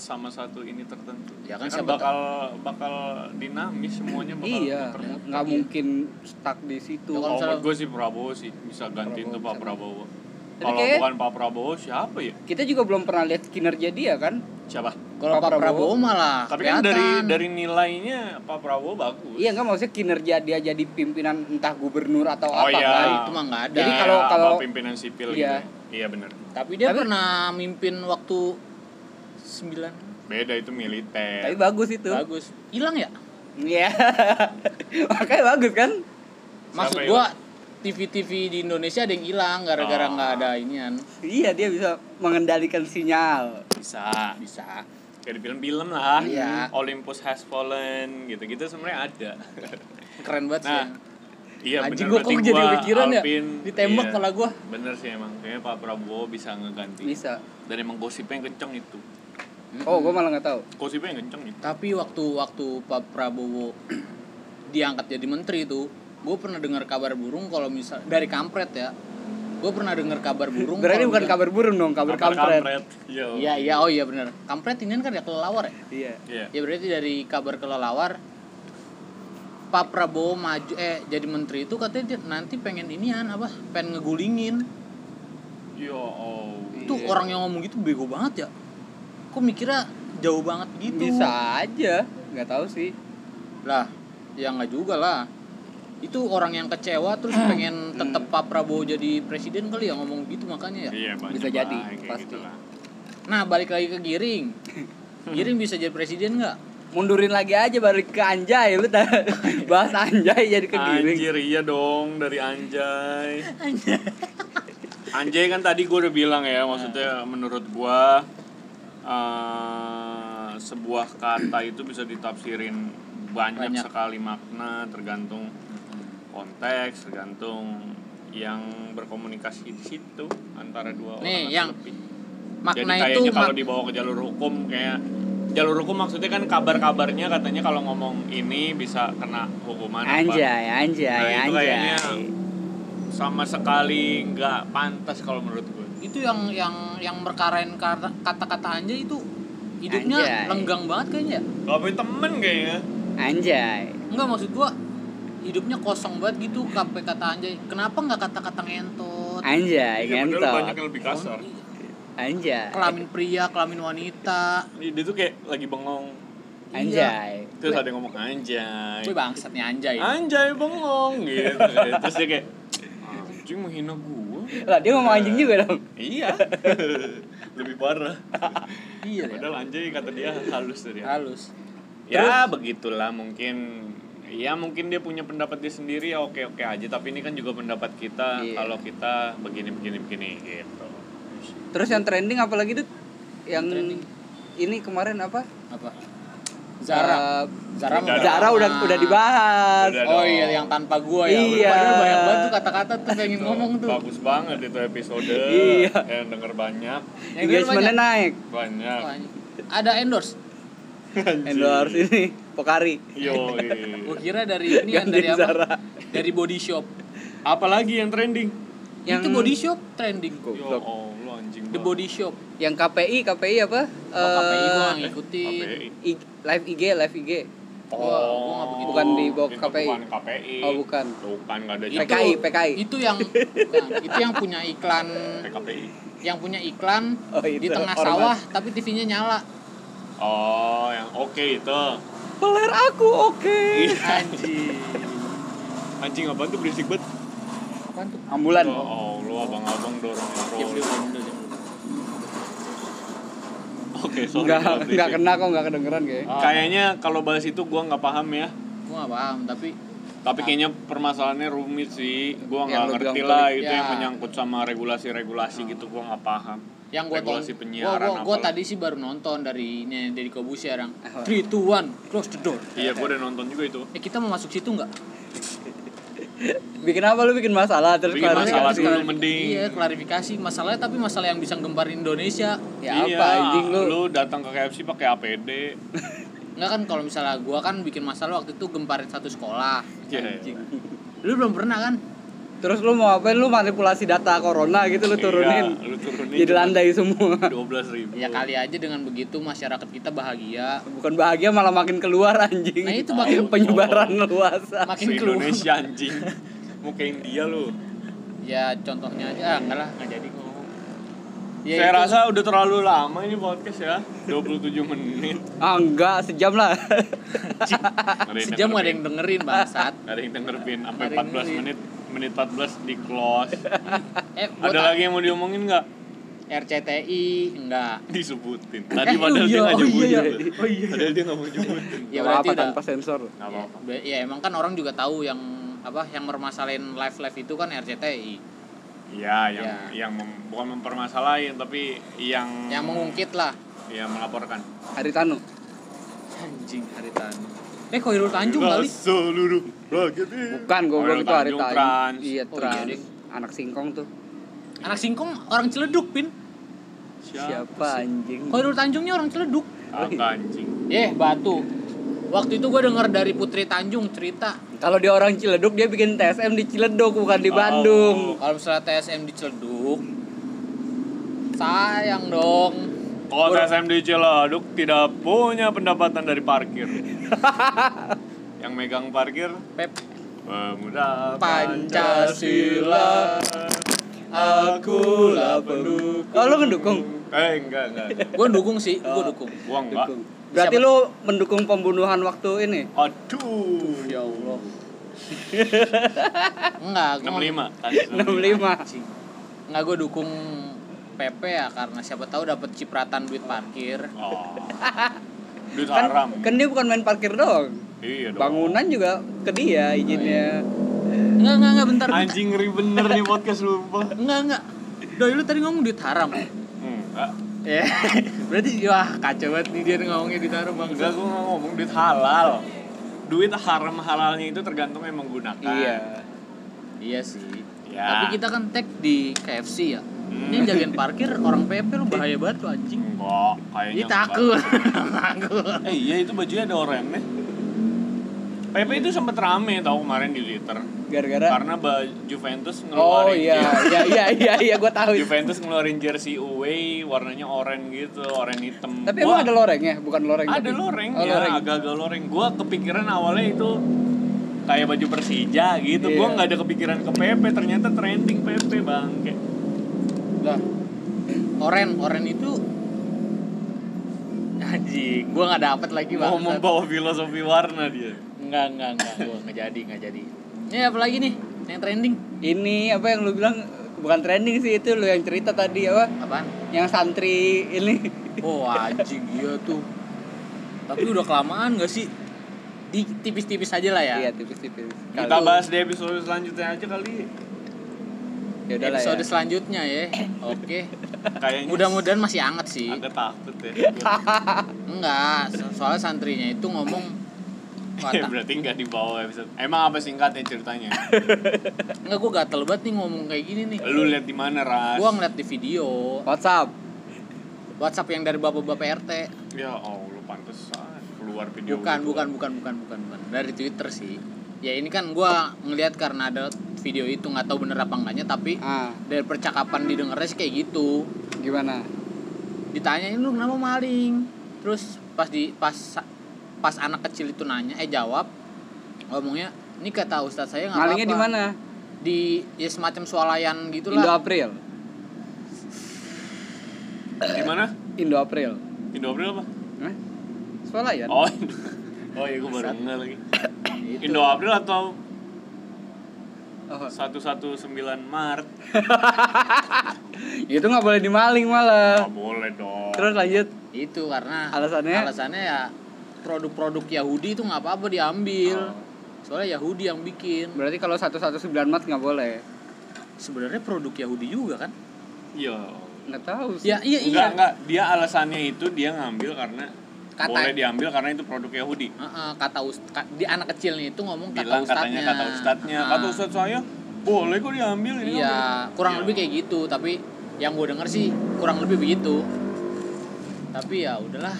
Speaker 2: sama satu ini tertentu
Speaker 3: Ya kan siapa
Speaker 2: bakal bakal dinamis semuanya bakal
Speaker 1: Iya,
Speaker 2: puter.
Speaker 1: nggak mungkin stuck di situ.
Speaker 3: Ya,
Speaker 2: kalau
Speaker 3: misalnya-
Speaker 2: menurut gue sih Prabowo sih bisa gantiin tuh Pak Prabowo
Speaker 1: Tapi
Speaker 2: kalau
Speaker 1: kayaknya-
Speaker 2: bukan Pak Prabowo siapa ya
Speaker 1: Kita juga belum pernah lihat kinerja dia kan.
Speaker 2: siapa
Speaker 3: kalau
Speaker 1: Pak
Speaker 3: Pak Prabowo,
Speaker 1: Prabowo
Speaker 3: malah
Speaker 2: tapi kan dari
Speaker 3: kelihatan.
Speaker 2: dari nilainya Pak Prabowo bagus
Speaker 1: Iya nggak maksudnya kinerja dia jadi pimpinan entah gubernur atau
Speaker 2: Oh,
Speaker 1: apa
Speaker 2: iya.
Speaker 1: kan.
Speaker 3: Nah, itu mah nggak ada
Speaker 1: Jadi
Speaker 2: Iya,
Speaker 1: kalau-
Speaker 2: apa
Speaker 1: kalau-
Speaker 2: pimpinan sipil
Speaker 1: Iya.
Speaker 2: gitu ya. iya bener
Speaker 3: tapi dia
Speaker 1: Tapi-
Speaker 3: pernah mimpin waktu 9
Speaker 2: beda itu militer
Speaker 1: Tapi bagus itu.
Speaker 3: bagus hilang ya
Speaker 1: Iya. Makanya bagus kan.
Speaker 3: maksud
Speaker 2: yang
Speaker 3: gua TV-TV di Indonesia ada yang hilang gara-gara
Speaker 2: Ah.
Speaker 3: nggak ada inian
Speaker 1: Iya dia bisa mengendalikan sinyal.
Speaker 2: bisa
Speaker 3: bisa
Speaker 2: kayak di film-film lah
Speaker 3: Iya.
Speaker 2: Olympus Has Fallen gitu-gitu sebenarnya ada
Speaker 3: keren banget sih
Speaker 2: nah
Speaker 3: ya.
Speaker 2: iya bener,
Speaker 3: Anjing gua kok
Speaker 2: berarti
Speaker 3: jadi
Speaker 2: gua,
Speaker 3: pikiran ya?
Speaker 2: Alvin,
Speaker 3: Ditembak kepala gua.
Speaker 2: bener sih emang kayaknya Pak Prabowo bisa ngeganti
Speaker 1: Bisa.
Speaker 2: dan emang gosipnya yang kenceng itu
Speaker 1: Oh gue malah nggak tahu.
Speaker 2: gosipnya yang kenceng itu
Speaker 3: tapi waktu waktu Pak Prabowo diangkat jadi menteri itu gue pernah dengar kabar burung kalau misal dari kampret ya gue pernah dengar kabar burung
Speaker 1: Berarti
Speaker 3: kalau
Speaker 1: bukan
Speaker 3: misal-
Speaker 1: kabar burung dong, kabar kampret.
Speaker 2: Iya.
Speaker 3: iya iya oh iya benar kampret ini kan ya kelelawar ya
Speaker 1: Iya.
Speaker 2: Iya.
Speaker 3: ya berarti dari kabar kelelawar Pak Prabowo maju eh jadi menteri itu katanya dia nanti pengen inian apa pengen ngegulingin
Speaker 2: Yo, oh.
Speaker 3: itu orang yang ngomong gitu bego banget ya kok mikirnya jauh banget gitu
Speaker 1: Bisa aja. Nggak tahu sih.
Speaker 3: lah ya nggak juga lah itu orang yang kecewa terus pengen tetap Pak Prabowo jadi presiden kali ya ngomong gitu makanya ya
Speaker 2: Iya, banyak
Speaker 1: Bisa
Speaker 2: lah,
Speaker 1: jadi,
Speaker 2: kayak gitu
Speaker 1: pasti.
Speaker 2: lah.
Speaker 3: nah balik lagi ke Giring Giring bisa jadi presiden nggak
Speaker 1: Mundurin lagi aja balik ke anjay lu ta- bahas anjay jadi kegiring.
Speaker 2: Anjir iya dong dari anjay. anjay kan tadi gue udah bilang ya maksudnya menurut gue eh, sebuah kata itu bisa ditafsirin banyak,
Speaker 3: Banyak.
Speaker 2: sekali makna tergantung konteks tergantung yang berkomunikasi di situ antara dua orang
Speaker 3: Nih,
Speaker 2: atau
Speaker 3: yang
Speaker 2: lebih.
Speaker 3: makna
Speaker 2: Jadi
Speaker 3: itu
Speaker 2: kayaknya kalau
Speaker 3: mak-
Speaker 2: dibawa ke jalur hukum kayak jalur hukum maksudnya kan kabar-kabarnya katanya kalau ngomong ini bisa kena hukuman apa.
Speaker 1: Anjay, anjay,
Speaker 2: Nah, itu
Speaker 1: anjay.
Speaker 2: kayaknya sama sekali nggak pantas kalau menurut gue
Speaker 3: itu yang yang yang berkarain kata- kata-kata anjay itu hidupnya
Speaker 1: Anjay.
Speaker 3: lenggang banget kayaknya ya.
Speaker 2: gak punya temen kayaknya
Speaker 1: Anjay.
Speaker 3: enggak maksud gua hidupnya kosong banget gitu sampai kata anjay kenapa nggak kata-kata ngentot Iya.
Speaker 1: Anjay,
Speaker 2: Iya, padahal banyak
Speaker 1: ngentot.
Speaker 2: yang lebih kasar
Speaker 1: Anjay.
Speaker 3: kelamin pria kelamin wanita
Speaker 2: dia dia tuh kayak lagi bengong
Speaker 1: Anjay.
Speaker 2: terus ada yang ngomong anjay
Speaker 3: gue bangsat nih anjay
Speaker 2: anjay bengong gitu terus dia kayak anjing menghina gua
Speaker 1: Lah dia ngomong anjing juga dong.
Speaker 2: iya lebih parah
Speaker 3: iya ya.
Speaker 2: padahal anjay kata dia halus dari
Speaker 1: Ah,
Speaker 2: hati.
Speaker 3: halus
Speaker 2: ya begitulah mungkin ya mungkin dia punya pendapat dia sendiri ya oke oke aja tapi ini kan juga pendapat kita
Speaker 1: Iya.
Speaker 2: kalau kita begini begini begini gitu
Speaker 1: Terus yang trending apalagi tuh yang ini kemarin apa?
Speaker 3: apa
Speaker 1: Eh,
Speaker 3: Zara Zara
Speaker 2: Udah
Speaker 3: mau-
Speaker 1: Zara udah udah dibahas.
Speaker 2: Udah
Speaker 3: oh
Speaker 2: dong.
Speaker 3: iya yang tanpa gua ya
Speaker 1: Iya.
Speaker 3: padahal banyak banget tuh kata-kata tuh pengen ngomong tuh
Speaker 2: bagus banget itu episode
Speaker 1: Iya.
Speaker 2: yang denger banyak
Speaker 3: Yang gue
Speaker 1: Engagementnya
Speaker 3: banyak.
Speaker 1: naik.
Speaker 2: banyak
Speaker 3: Wah, anjing. ada endorse
Speaker 2: Anjing.
Speaker 1: Endorse ini Pokari.
Speaker 2: Yoi.
Speaker 3: gue kira dari ini yang
Speaker 1: Gantiin
Speaker 3: dari apa
Speaker 1: Zara.
Speaker 3: dari body shop
Speaker 2: apalagi yang trending
Speaker 1: Yang-
Speaker 3: itu body shop trending
Speaker 2: ya
Speaker 1: Goblok.
Speaker 2: allah anjing
Speaker 3: the
Speaker 2: banget.
Speaker 3: body shop
Speaker 1: Yang KPI, KPI apa?
Speaker 3: oh, KPI gue
Speaker 1: Eh,
Speaker 3: gak ngikutin
Speaker 2: KPI.
Speaker 1: I- live IG, live IG.
Speaker 3: Wah, gua nggak begitu.
Speaker 1: Bukan di bawah
Speaker 2: Oh, Itu
Speaker 1: KPI.
Speaker 2: bukan KPI.
Speaker 1: Oh, bukan.
Speaker 2: Bukan nggak ada
Speaker 1: Itu-
Speaker 2: juga.
Speaker 1: PKI, PKI.
Speaker 3: itu yang bukan, itu yang punya iklan
Speaker 2: PKPI.
Speaker 3: yang punya iklan
Speaker 1: Oh, itu,
Speaker 3: di tengah
Speaker 1: ormas.
Speaker 3: sawah tapi TV-nya nyala
Speaker 2: Oh, yang oke itu.
Speaker 1: Peler aku oke.
Speaker 3: anjir
Speaker 2: Anjing apa tuh berisik banget.
Speaker 3: apaan tuh
Speaker 1: Ambulan.
Speaker 2: Ya Allah, abang-abang dorong
Speaker 1: Iya,
Speaker 3: Diam,
Speaker 2: roll.
Speaker 3: diam, diam, diam, diam.
Speaker 2: Oke, sorry. Ah.
Speaker 1: Enggak
Speaker 2: kalau berisik.
Speaker 1: enggak kena kok enggak kedengeran kayaknya.
Speaker 2: Kayaknya kalau bahas itu gua nggak paham ya.
Speaker 3: gue gak paham tapi
Speaker 2: Tapi kayaknya permasalahannya rumit sih. Gua
Speaker 1: Ah. Yang
Speaker 2: nggak
Speaker 1: lu
Speaker 2: ngerti
Speaker 1: bilang
Speaker 2: lah
Speaker 1: tadi.
Speaker 2: itu
Speaker 3: Ya.
Speaker 2: yang menyangkut sama
Speaker 1: Ah.
Speaker 2: regulasi-regulasi gitu gua nggak paham.
Speaker 3: yang gue tonton
Speaker 2: Regulasi
Speaker 3: gue
Speaker 2: penyiaran
Speaker 3: gue
Speaker 2: apalah.
Speaker 3: tadi sih baru nonton dari ini dari Kobusier yang
Speaker 1: Apa?
Speaker 3: three two one close the door
Speaker 2: Iya, gua udah nonton juga itu.
Speaker 3: eh kita mau masuk situ nggak
Speaker 1: Bikin apa lu bikin masalah terus kan?
Speaker 2: Bikin
Speaker 1: klarifikasi.
Speaker 2: masalah
Speaker 3: Klarifikasi.
Speaker 2: dulu mending.
Speaker 3: iya klarifikasi masalahnya tapi masalah yang bisa nggembarin Indonesia
Speaker 1: Ya
Speaker 2: Iya,
Speaker 1: apa anjing lu?
Speaker 2: Lu datang ke KFC pakai APD.
Speaker 3: nggak kan kalau misalnya gua kan bikin masalah waktu itu gemparin satu sekolah
Speaker 2: Iya.
Speaker 1: Anjing.
Speaker 3: lu belum pernah kan
Speaker 1: Terus lu mau apain? Lu manipulasi data corona gitu lu turunin.
Speaker 2: Iya, lu turunin.
Speaker 1: Jadi landai Iya semua.
Speaker 2: 12.000.
Speaker 3: ya kali aja dengan begitu masyarakat kita bahagia
Speaker 1: Bukan bahagia malah makin keluar anjing.
Speaker 3: Nah, itu makin- Oh,
Speaker 1: penyebaran luas.
Speaker 3: makin
Speaker 2: Se
Speaker 3: keluar
Speaker 2: Indonesia anjing. Mau ke India lu.
Speaker 3: ya contohnya aja ah, enggak lah nggak jadi kok ya
Speaker 2: Saya
Speaker 3: itu.
Speaker 2: rasa udah terlalu lama ini podcast ya. 27 menit.
Speaker 1: Ah enggak, sejam lah.
Speaker 2: Ada yang
Speaker 3: sejam gak ada yang
Speaker 2: dengerin.
Speaker 3: dengerin bangsat
Speaker 2: ada yang denger Pin. sampai
Speaker 3: Ada yang
Speaker 2: 14
Speaker 3: dengerin.
Speaker 2: menit. Menit 14 di close.
Speaker 3: eh gua
Speaker 2: Ada
Speaker 3: tak-
Speaker 2: lagi yang mau diomongin nggak?
Speaker 3: RCTI enggak
Speaker 2: Disebutin. Tadi
Speaker 3: oh
Speaker 2: padahal
Speaker 3: iya,
Speaker 2: dia nggak
Speaker 3: oh
Speaker 2: nyebutin.
Speaker 3: iya.
Speaker 2: Oh iya. Padahal dia nggak mau nyebutin.
Speaker 3: ya
Speaker 1: Nggak
Speaker 3: berarti
Speaker 1: apa
Speaker 3: udah
Speaker 1: tanpa sensor.
Speaker 2: Nggak apa-apa.
Speaker 3: ya, ya emang kan orang juga tahu yang apa yang mermasalahin live live itu kan RCTI
Speaker 2: Iya, yang
Speaker 3: Ya.
Speaker 2: yang mem- bukan mempermasalahin tapi yang
Speaker 3: yang mengungkit lah
Speaker 2: ya melaporkan.
Speaker 1: Hari Tanu.
Speaker 3: anjing Haritanu eh Khairul Tanjung
Speaker 2: Kita
Speaker 3: kali
Speaker 2: Seluruh rakyat ini.
Speaker 1: Bukan goblok
Speaker 2: Orang
Speaker 1: itu Hari
Speaker 2: Tanjung,
Speaker 1: Tanu.
Speaker 2: Trans.
Speaker 1: Iya,
Speaker 3: Oh,
Speaker 1: trans.
Speaker 3: iya, ding.
Speaker 1: Anak singkong tuh.
Speaker 3: anak singkong orang Ciledug pin
Speaker 1: Siapa anjing?
Speaker 3: Khairul Tanjungnya orang Ciledug
Speaker 2: Agak anjing.
Speaker 3: Eh, batu. Waktu itu gue denger dari Putri Tanjung cerita
Speaker 1: Kalau dia orang Ciledug dia bikin TSM di Ciledug bukan di Bandung.
Speaker 2: Oh.
Speaker 3: kalau misalnya TSM dicelduk, sayang dong.
Speaker 2: Kalau
Speaker 3: Gua-
Speaker 2: TSM di Ciledug tidak punya pendapatan dari parkir. Yang megang parkir
Speaker 3: Pep,
Speaker 2: pemuda
Speaker 3: Pancasila,
Speaker 2: akulah pendukung.
Speaker 1: Oh, lu mendukung?
Speaker 2: Eh enggak enggak. enggak.
Speaker 3: gue dukung sih, gue dukung.
Speaker 2: Gua enggak.
Speaker 1: Dukung. Berarti
Speaker 3: Siapa?
Speaker 1: lu mendukung pembunuhan waktu ini?
Speaker 2: Aduh.
Speaker 3: Ya Allah. Enggak, gue
Speaker 2: 65 kasus
Speaker 1: 65.
Speaker 3: Enggak, gue dukung PP ya karena siapa tahu dapat cipratan duit parkir.
Speaker 2: Oh. Duit
Speaker 1: Kan,
Speaker 2: haram.
Speaker 1: kan dia bukan main parkir doang.
Speaker 2: Iya dong.
Speaker 1: Bangunan juga ke dia izinnya.
Speaker 3: Enggak, enggak, enggak bentar. bentar.
Speaker 2: Anjing ngeri bener nih podcast lupa.
Speaker 3: Enggak, enggak. Doi lu tadi ngomong duit haram.
Speaker 2: Enggak.
Speaker 3: Ya, berarti wah kacau banget nih dia ngomongnya di taruh bang.
Speaker 2: Enggak gua nggak ngomong duit halal. Duit haram halalnya itu tergantung yang menggunakan.
Speaker 1: Iya.
Speaker 3: Iya sih.
Speaker 2: Ya.
Speaker 3: Tapi kita kan tag di KFC ya.
Speaker 2: Hmm.
Speaker 3: Ini yang jagain parkir orang PP lu bahaya banget lu anjing.
Speaker 2: Enggak, kayaknya.
Speaker 3: Ini
Speaker 2: enggak.
Speaker 3: takut. takut.
Speaker 2: Eh iya itu bajunya ada oranye. Pepe itu sempet rame tau kemarin di Twitter.
Speaker 1: gara-gara
Speaker 2: karena ba- Juventus
Speaker 1: oh
Speaker 2: ngeluarin
Speaker 1: iya
Speaker 2: jersey-
Speaker 1: iya iya iya iya gue tahu itu.
Speaker 2: Juventus ngeluarin jersey away warnanya oranye gitu oranye hitam
Speaker 1: tapi emang
Speaker 2: Gua-
Speaker 1: ada lorengnya bukan loreng
Speaker 2: ada
Speaker 1: tapi-
Speaker 2: loreng
Speaker 1: oh,
Speaker 2: ya
Speaker 1: loreng.
Speaker 2: agak-agak loreng gue kepikiran awalnya itu kayak baju Persija gitu Gua gue
Speaker 1: Iya.
Speaker 2: nggak ada kepikiran ke PP ternyata trending PP bang kayak
Speaker 3: Lah. Oren, oren itu anjing, gua nggak dapet lagi
Speaker 2: mau
Speaker 3: bangsat.
Speaker 2: membawa filosofi warna dia
Speaker 3: Enggak, enggak, enggak. Gua nggak jadi, nggak jadi. Ini apa lagi nih? Yang trending
Speaker 1: ini apa yang lu bilang bukan trending sih itu lu yang cerita tadi apa
Speaker 3: apaan?
Speaker 1: yang santri ini
Speaker 3: Oh anjing iya tuh. Tapi udah kelamaan gak sih? Di tipis-tipis aja lah ya.
Speaker 1: iya tipis-tipis
Speaker 2: kita
Speaker 1: Kalau-
Speaker 2: bahas di episode selanjutnya aja kali
Speaker 1: ya udahlah
Speaker 3: Episode
Speaker 1: ya.
Speaker 3: selanjutnya ya. Oke.
Speaker 2: kayaknya
Speaker 3: Mudah-mudahan masih anget sih.
Speaker 2: agak takut ya
Speaker 3: Enggak, so- soalnya santrinya itu ngomong
Speaker 1: Iya,
Speaker 2: Ya,
Speaker 3: kata
Speaker 2: berarti nggak dibawa episode emang apa singkatnya ceritanya
Speaker 3: enggak gua gatel banget nih ngomong kayak gini nih.
Speaker 2: lu lihat di mana ras
Speaker 3: Gua ngeliat di video
Speaker 1: WhatsApp
Speaker 3: WhatsApp yang dari bapak-bapak RT.
Speaker 2: ya allah pantesan keluar
Speaker 1: Iya,
Speaker 2: video
Speaker 3: Bukan,
Speaker 2: gitu.
Speaker 3: bukan, bukan, bukan, bukan, bukan. Dari Twitter sih. Ya ini kan gua ngeliat karena ada video itu nggak tahu bener apa enggaknya tapi
Speaker 1: ah
Speaker 3: dari percakapan didengarnya sih kayak gitu.
Speaker 1: gimana
Speaker 3: ditanyain lu kenapa maling terus pas di pas pas anak kecil itu nanya eh jawab ngomongnya ini kata ustadz saya nggak
Speaker 1: malingnya
Speaker 3: apa-apa."
Speaker 1: di mana
Speaker 3: di ya semacam swalayan gitulah
Speaker 1: Indo April
Speaker 2: di mana
Speaker 1: Indo April
Speaker 2: Indo April apa
Speaker 1: Hah? Soalnya ya
Speaker 2: oh Indo oh iya gue baru nggak lagi
Speaker 3: Gitu.
Speaker 2: Indo April atau
Speaker 1: Oh.
Speaker 2: 119 Maret
Speaker 1: itu nggak boleh dimaling malah
Speaker 2: Nggak boleh dong
Speaker 1: terus lanjut
Speaker 3: itu karena
Speaker 1: Alasannya?
Speaker 3: alasannya ya produk-produk Yahudi itu nggak apa-apa
Speaker 1: Oh.
Speaker 3: diambil soalnya Yahudi yang bikin
Speaker 1: berarti kalau 119 mat nggak boleh
Speaker 3: sebenarnya produk Yahudi juga kan
Speaker 2: Iya
Speaker 1: nggak tahu sih
Speaker 3: ya iya
Speaker 2: Enggak,
Speaker 3: iya
Speaker 2: enggak Dia alasannya itu dia ngambil karena
Speaker 3: Kata-
Speaker 2: Boleh diambil karena itu produk Yahudi
Speaker 3: Heeh, kata ust ka- di anak kecilnya itu ngomong
Speaker 2: Bilang
Speaker 3: kata ustadznya
Speaker 2: katanya kata ustadznya
Speaker 3: Heeh.
Speaker 2: Kata ustadz saya Boleh kok diambil ini ngambil."
Speaker 3: Iya, kurang
Speaker 2: Iya.
Speaker 3: lebih kayak gitu, tapi yang gue denger sih kurang lebih begitu. Tapi ya udahlah.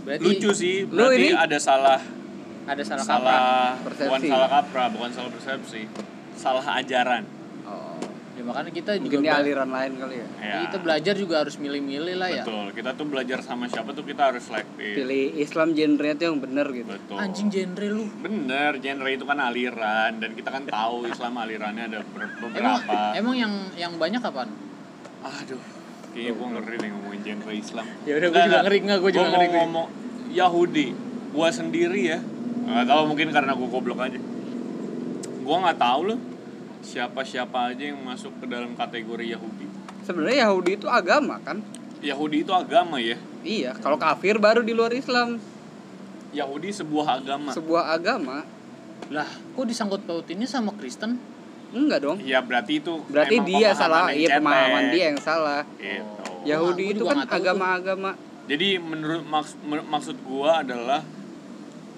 Speaker 3: Berarti
Speaker 2: Lucu sih
Speaker 1: Lu
Speaker 2: Berarti
Speaker 1: ini-
Speaker 2: ada salah
Speaker 3: ada salah, kaprah.
Speaker 2: Salah
Speaker 1: Persepsi.
Speaker 2: Bukan salah kaprah Bukan salah persepsi Salah ajaran
Speaker 1: oh.
Speaker 3: Ya makanya kita juga
Speaker 1: mungkin dia
Speaker 3: bela-
Speaker 1: aliran lain kali ya
Speaker 2: Ya.
Speaker 3: kita belajar juga harus milih-milih lah ya.
Speaker 2: Betul Kita tuh belajar sama siapa tuh kita harus selektif
Speaker 1: pilih Islam genre itu yang bener gitu
Speaker 2: Betul
Speaker 3: Anjing genre lu.
Speaker 2: Bener, genre itu kan aliran dan kita kan tahu Islam alirannya ada ber-
Speaker 3: Emang
Speaker 2: beberapa.
Speaker 3: emang yang yang banyak kapan?
Speaker 2: Aduh, kayaknya gue ngeri nih ngomongin genre Islam.
Speaker 3: Ya udah, gua
Speaker 2: Nggak,
Speaker 3: juga
Speaker 2: nggak.
Speaker 3: ngeri, nggak, gua juga
Speaker 2: Gua
Speaker 3: ngeri,
Speaker 2: mau
Speaker 3: gua.
Speaker 2: ngomong Yahudi, gue sendiri ya. Gak tahu mungkin karena gue goblok aja. Gue nggak tahu loh siapa-siapa aja yang masuk ke dalam kategori Yahudi.
Speaker 1: sebenarnya Yahudi itu agama kan
Speaker 2: Yahudi itu agama ya.
Speaker 1: iya kalau kafir baru di luar Islam
Speaker 2: Yahudi sebuah agama.
Speaker 1: sebuah agama
Speaker 3: Lah, kok disangkut pautinnya sama Kristen?
Speaker 1: enggak dong
Speaker 2: ya berarti itu
Speaker 1: berarti
Speaker 2: emang
Speaker 1: dia
Speaker 2: pemahaman
Speaker 1: salah
Speaker 2: yang
Speaker 1: iya
Speaker 2: cetek.
Speaker 1: pemahaman dia yang salah
Speaker 2: Gitu.
Speaker 1: Yahudi
Speaker 3: gua
Speaker 1: itu
Speaker 3: juga
Speaker 1: kan
Speaker 3: nggak tahu tuh.
Speaker 1: agama-agama
Speaker 2: Jadi menurut maks- men- maksud gua adalah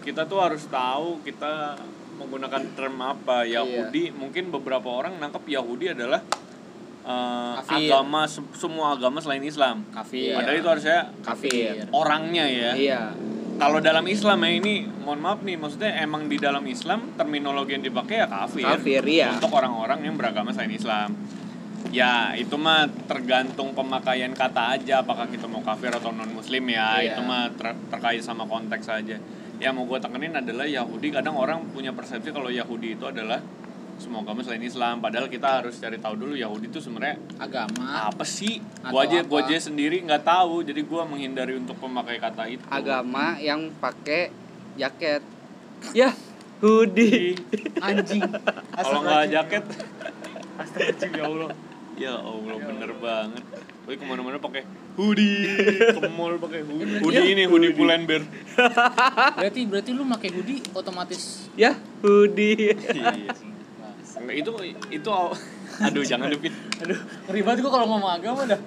Speaker 2: kita tuh harus tahu kita menggunakan term apa
Speaker 3: Iya.
Speaker 2: Yahudi. Mungkin beberapa orang nangkep Yahudi adalah eh,
Speaker 3: Kafir.
Speaker 2: agama se- semua agama selain Islam.
Speaker 3: Kafir.
Speaker 2: Padahal itu harusnya
Speaker 3: kafir.
Speaker 2: orangnya ya.
Speaker 1: iya
Speaker 2: Kalau dalam Islam ya ini mohon maaf nih maksudnya emang di dalam Islam terminologi yang dipakai ya kafir.
Speaker 1: Kafir, iya.
Speaker 2: Untuk orang-orang yang beragama selain Islam. Ya itu mah tergantung pemakaian kata aja apakah kita mau kafir atau non muslim ya
Speaker 3: Iya.
Speaker 2: itu mah ter- terkait sama konteks aja. Yang mau gue tekenin adalah Yahudi kadang orang punya persepsi kalau Yahudi itu adalah semua agama selain Islam padahal kita harus cari tahu dulu Yahudi itu sebenarnya
Speaker 3: Agama.
Speaker 2: apa sih?
Speaker 3: Atau
Speaker 2: Gua aja gua
Speaker 3: apa?
Speaker 2: aja sendiri nggak tahu jadi gua menghindari untuk memakai kata itu.
Speaker 1: agama yang pakai jaket ya hoodie
Speaker 3: Anjing.
Speaker 2: kalau nggak jaket astagfirullahaladzim ya allah ya allah bener banget gue kemana-mana pakai hoodie ke mall pakai hoodie hoodie ini Iya, hoodie pulen bear
Speaker 3: Berarti berarti lu pakai hoodie otomatis
Speaker 1: ya hoodie
Speaker 2: Iya sih. Nggak, itu itu aw- aduh jangan depin
Speaker 3: Aduh, ribet gua kalau ngomong agama dah.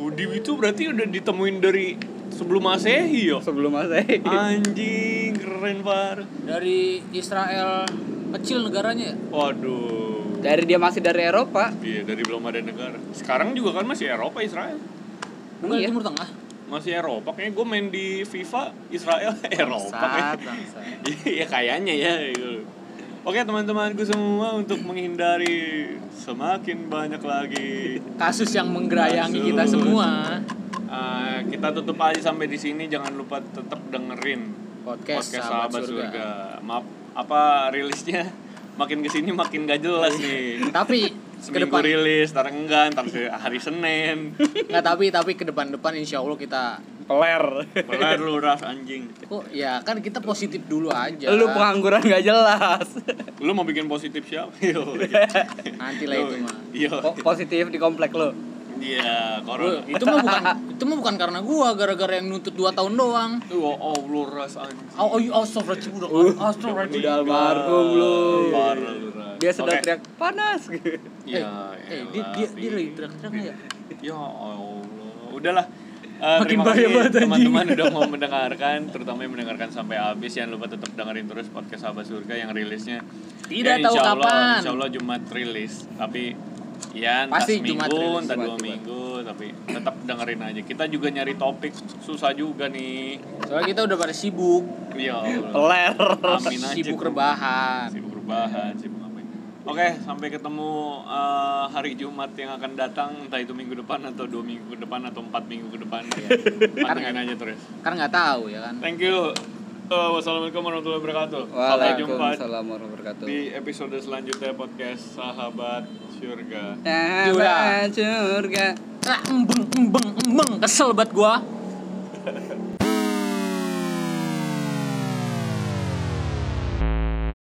Speaker 2: hoodie itu berarti udah ditemuin dari sebelum masehi ya
Speaker 1: sebelum saya
Speaker 2: anjing keren banget
Speaker 3: Dari Israel kecil negaranya ya?
Speaker 2: waduh
Speaker 1: dari dia masih dari Eropa
Speaker 2: iya dari belum ada negara sekarang juga kan masih Eropa Israel
Speaker 3: Enggak,
Speaker 1: Iya.
Speaker 3: Timur Tengah.
Speaker 2: masih Eropa kayaknya gue main di FIFA Israel Eropa
Speaker 3: Bangsat,
Speaker 2: kayaknya.
Speaker 3: bangsat.
Speaker 2: Iya kayaknya ya gitu. Oke teman-temanku semua untuk menghindari semakin banyak lagi
Speaker 3: kasus yang menggerayangi
Speaker 2: Kasus.
Speaker 3: kita semua
Speaker 2: eh, kita tutup aja sampai di sini jangan lupa tetap dengerin
Speaker 3: podcast, sahabat, surga.
Speaker 2: Maaf apa rilisnya makin kesini makin gak jelas nih.
Speaker 3: Tapi Iya.
Speaker 2: Seminggu
Speaker 3: ke depan
Speaker 2: rilis, ntar enggak, ntar se- hari Senin.
Speaker 3: nggak tapi tapi ke depan depan insya Allah kita
Speaker 1: Peler.
Speaker 2: Belar lu ras anjing.
Speaker 3: kok ya kan kita positif dulu aja.
Speaker 1: Lu pengangguran gak jelas.
Speaker 2: Lu mau bikin positif siapa? Yo.
Speaker 3: nanti lah itu mah.
Speaker 2: Yo.
Speaker 1: Po- Positif di komplek lu.
Speaker 2: Iya,
Speaker 3: Gua-
Speaker 2: corona.
Speaker 3: itu mah bukan itu mah bukan karena gua gara-gara yang nuntut 2 tahun doang.
Speaker 2: Wah, oh, lu ras anjing.
Speaker 3: Oh, oh, oh, sobat udah.
Speaker 2: Uh.
Speaker 3: Oh, sobat
Speaker 2: Meninggal.
Speaker 3: udah.
Speaker 1: almarhum lu.
Speaker 2: Parah lu ras.
Speaker 1: Dia sedang
Speaker 2: Iya, Oke. Iya,
Speaker 1: teriak panas. gitu.
Speaker 2: Ya,
Speaker 3: Eh, dia dia dia lagi teriak-teriak nggak ya?
Speaker 2: iya. Ya Allah, udahlah. Eh,
Speaker 3: Makin
Speaker 2: terima
Speaker 3: bahaya banget,
Speaker 2: kasih
Speaker 3: anjing.
Speaker 2: teman-teman udah mau mendengarkan, terutama yang mendengarkan sampai habis. Jangan lupa tetap dengerin terus podcast Sahabat Surga yang rilisnya. Ya,
Speaker 3: Tidak tahu
Speaker 2: insya Allah-
Speaker 3: kapan.
Speaker 2: Insya Allah Jumat rilis, tapi ya entah
Speaker 3: Pasti
Speaker 2: seminggu,
Speaker 3: Jumat rilis,
Speaker 2: entah dua
Speaker 3: Jumat, Jumat.
Speaker 2: minggu, tapi tetap dengerin aja. Kita juga nyari topik susah juga nih.
Speaker 3: Soalnya kita udah pada sibuk,
Speaker 2: Ya Allah.
Speaker 1: Peler.
Speaker 2: Amin aja.
Speaker 3: sibuk rebahan.
Speaker 2: Sibuk rebahan, sibuk ngapain. Oke, sampai ketemu eh, hari Jumat yang akan datang, entah itu minggu depan atau dua minggu ke depan atau empat minggu ke depan. Ya. Pantengin aja terus.
Speaker 3: Kan nggak tahu ya kan.
Speaker 2: Thank you. Eh, wassalamualaikum warahmatullahi wabarakatuh. Sampai jumpa
Speaker 1: Waalaikumsalam warahmatullahi wabarakatuh.
Speaker 2: di episode selanjutnya podcast Sahabat Surga.
Speaker 1: Sahabat surga.
Speaker 3: Embeng embeng embeng kesel banget gua.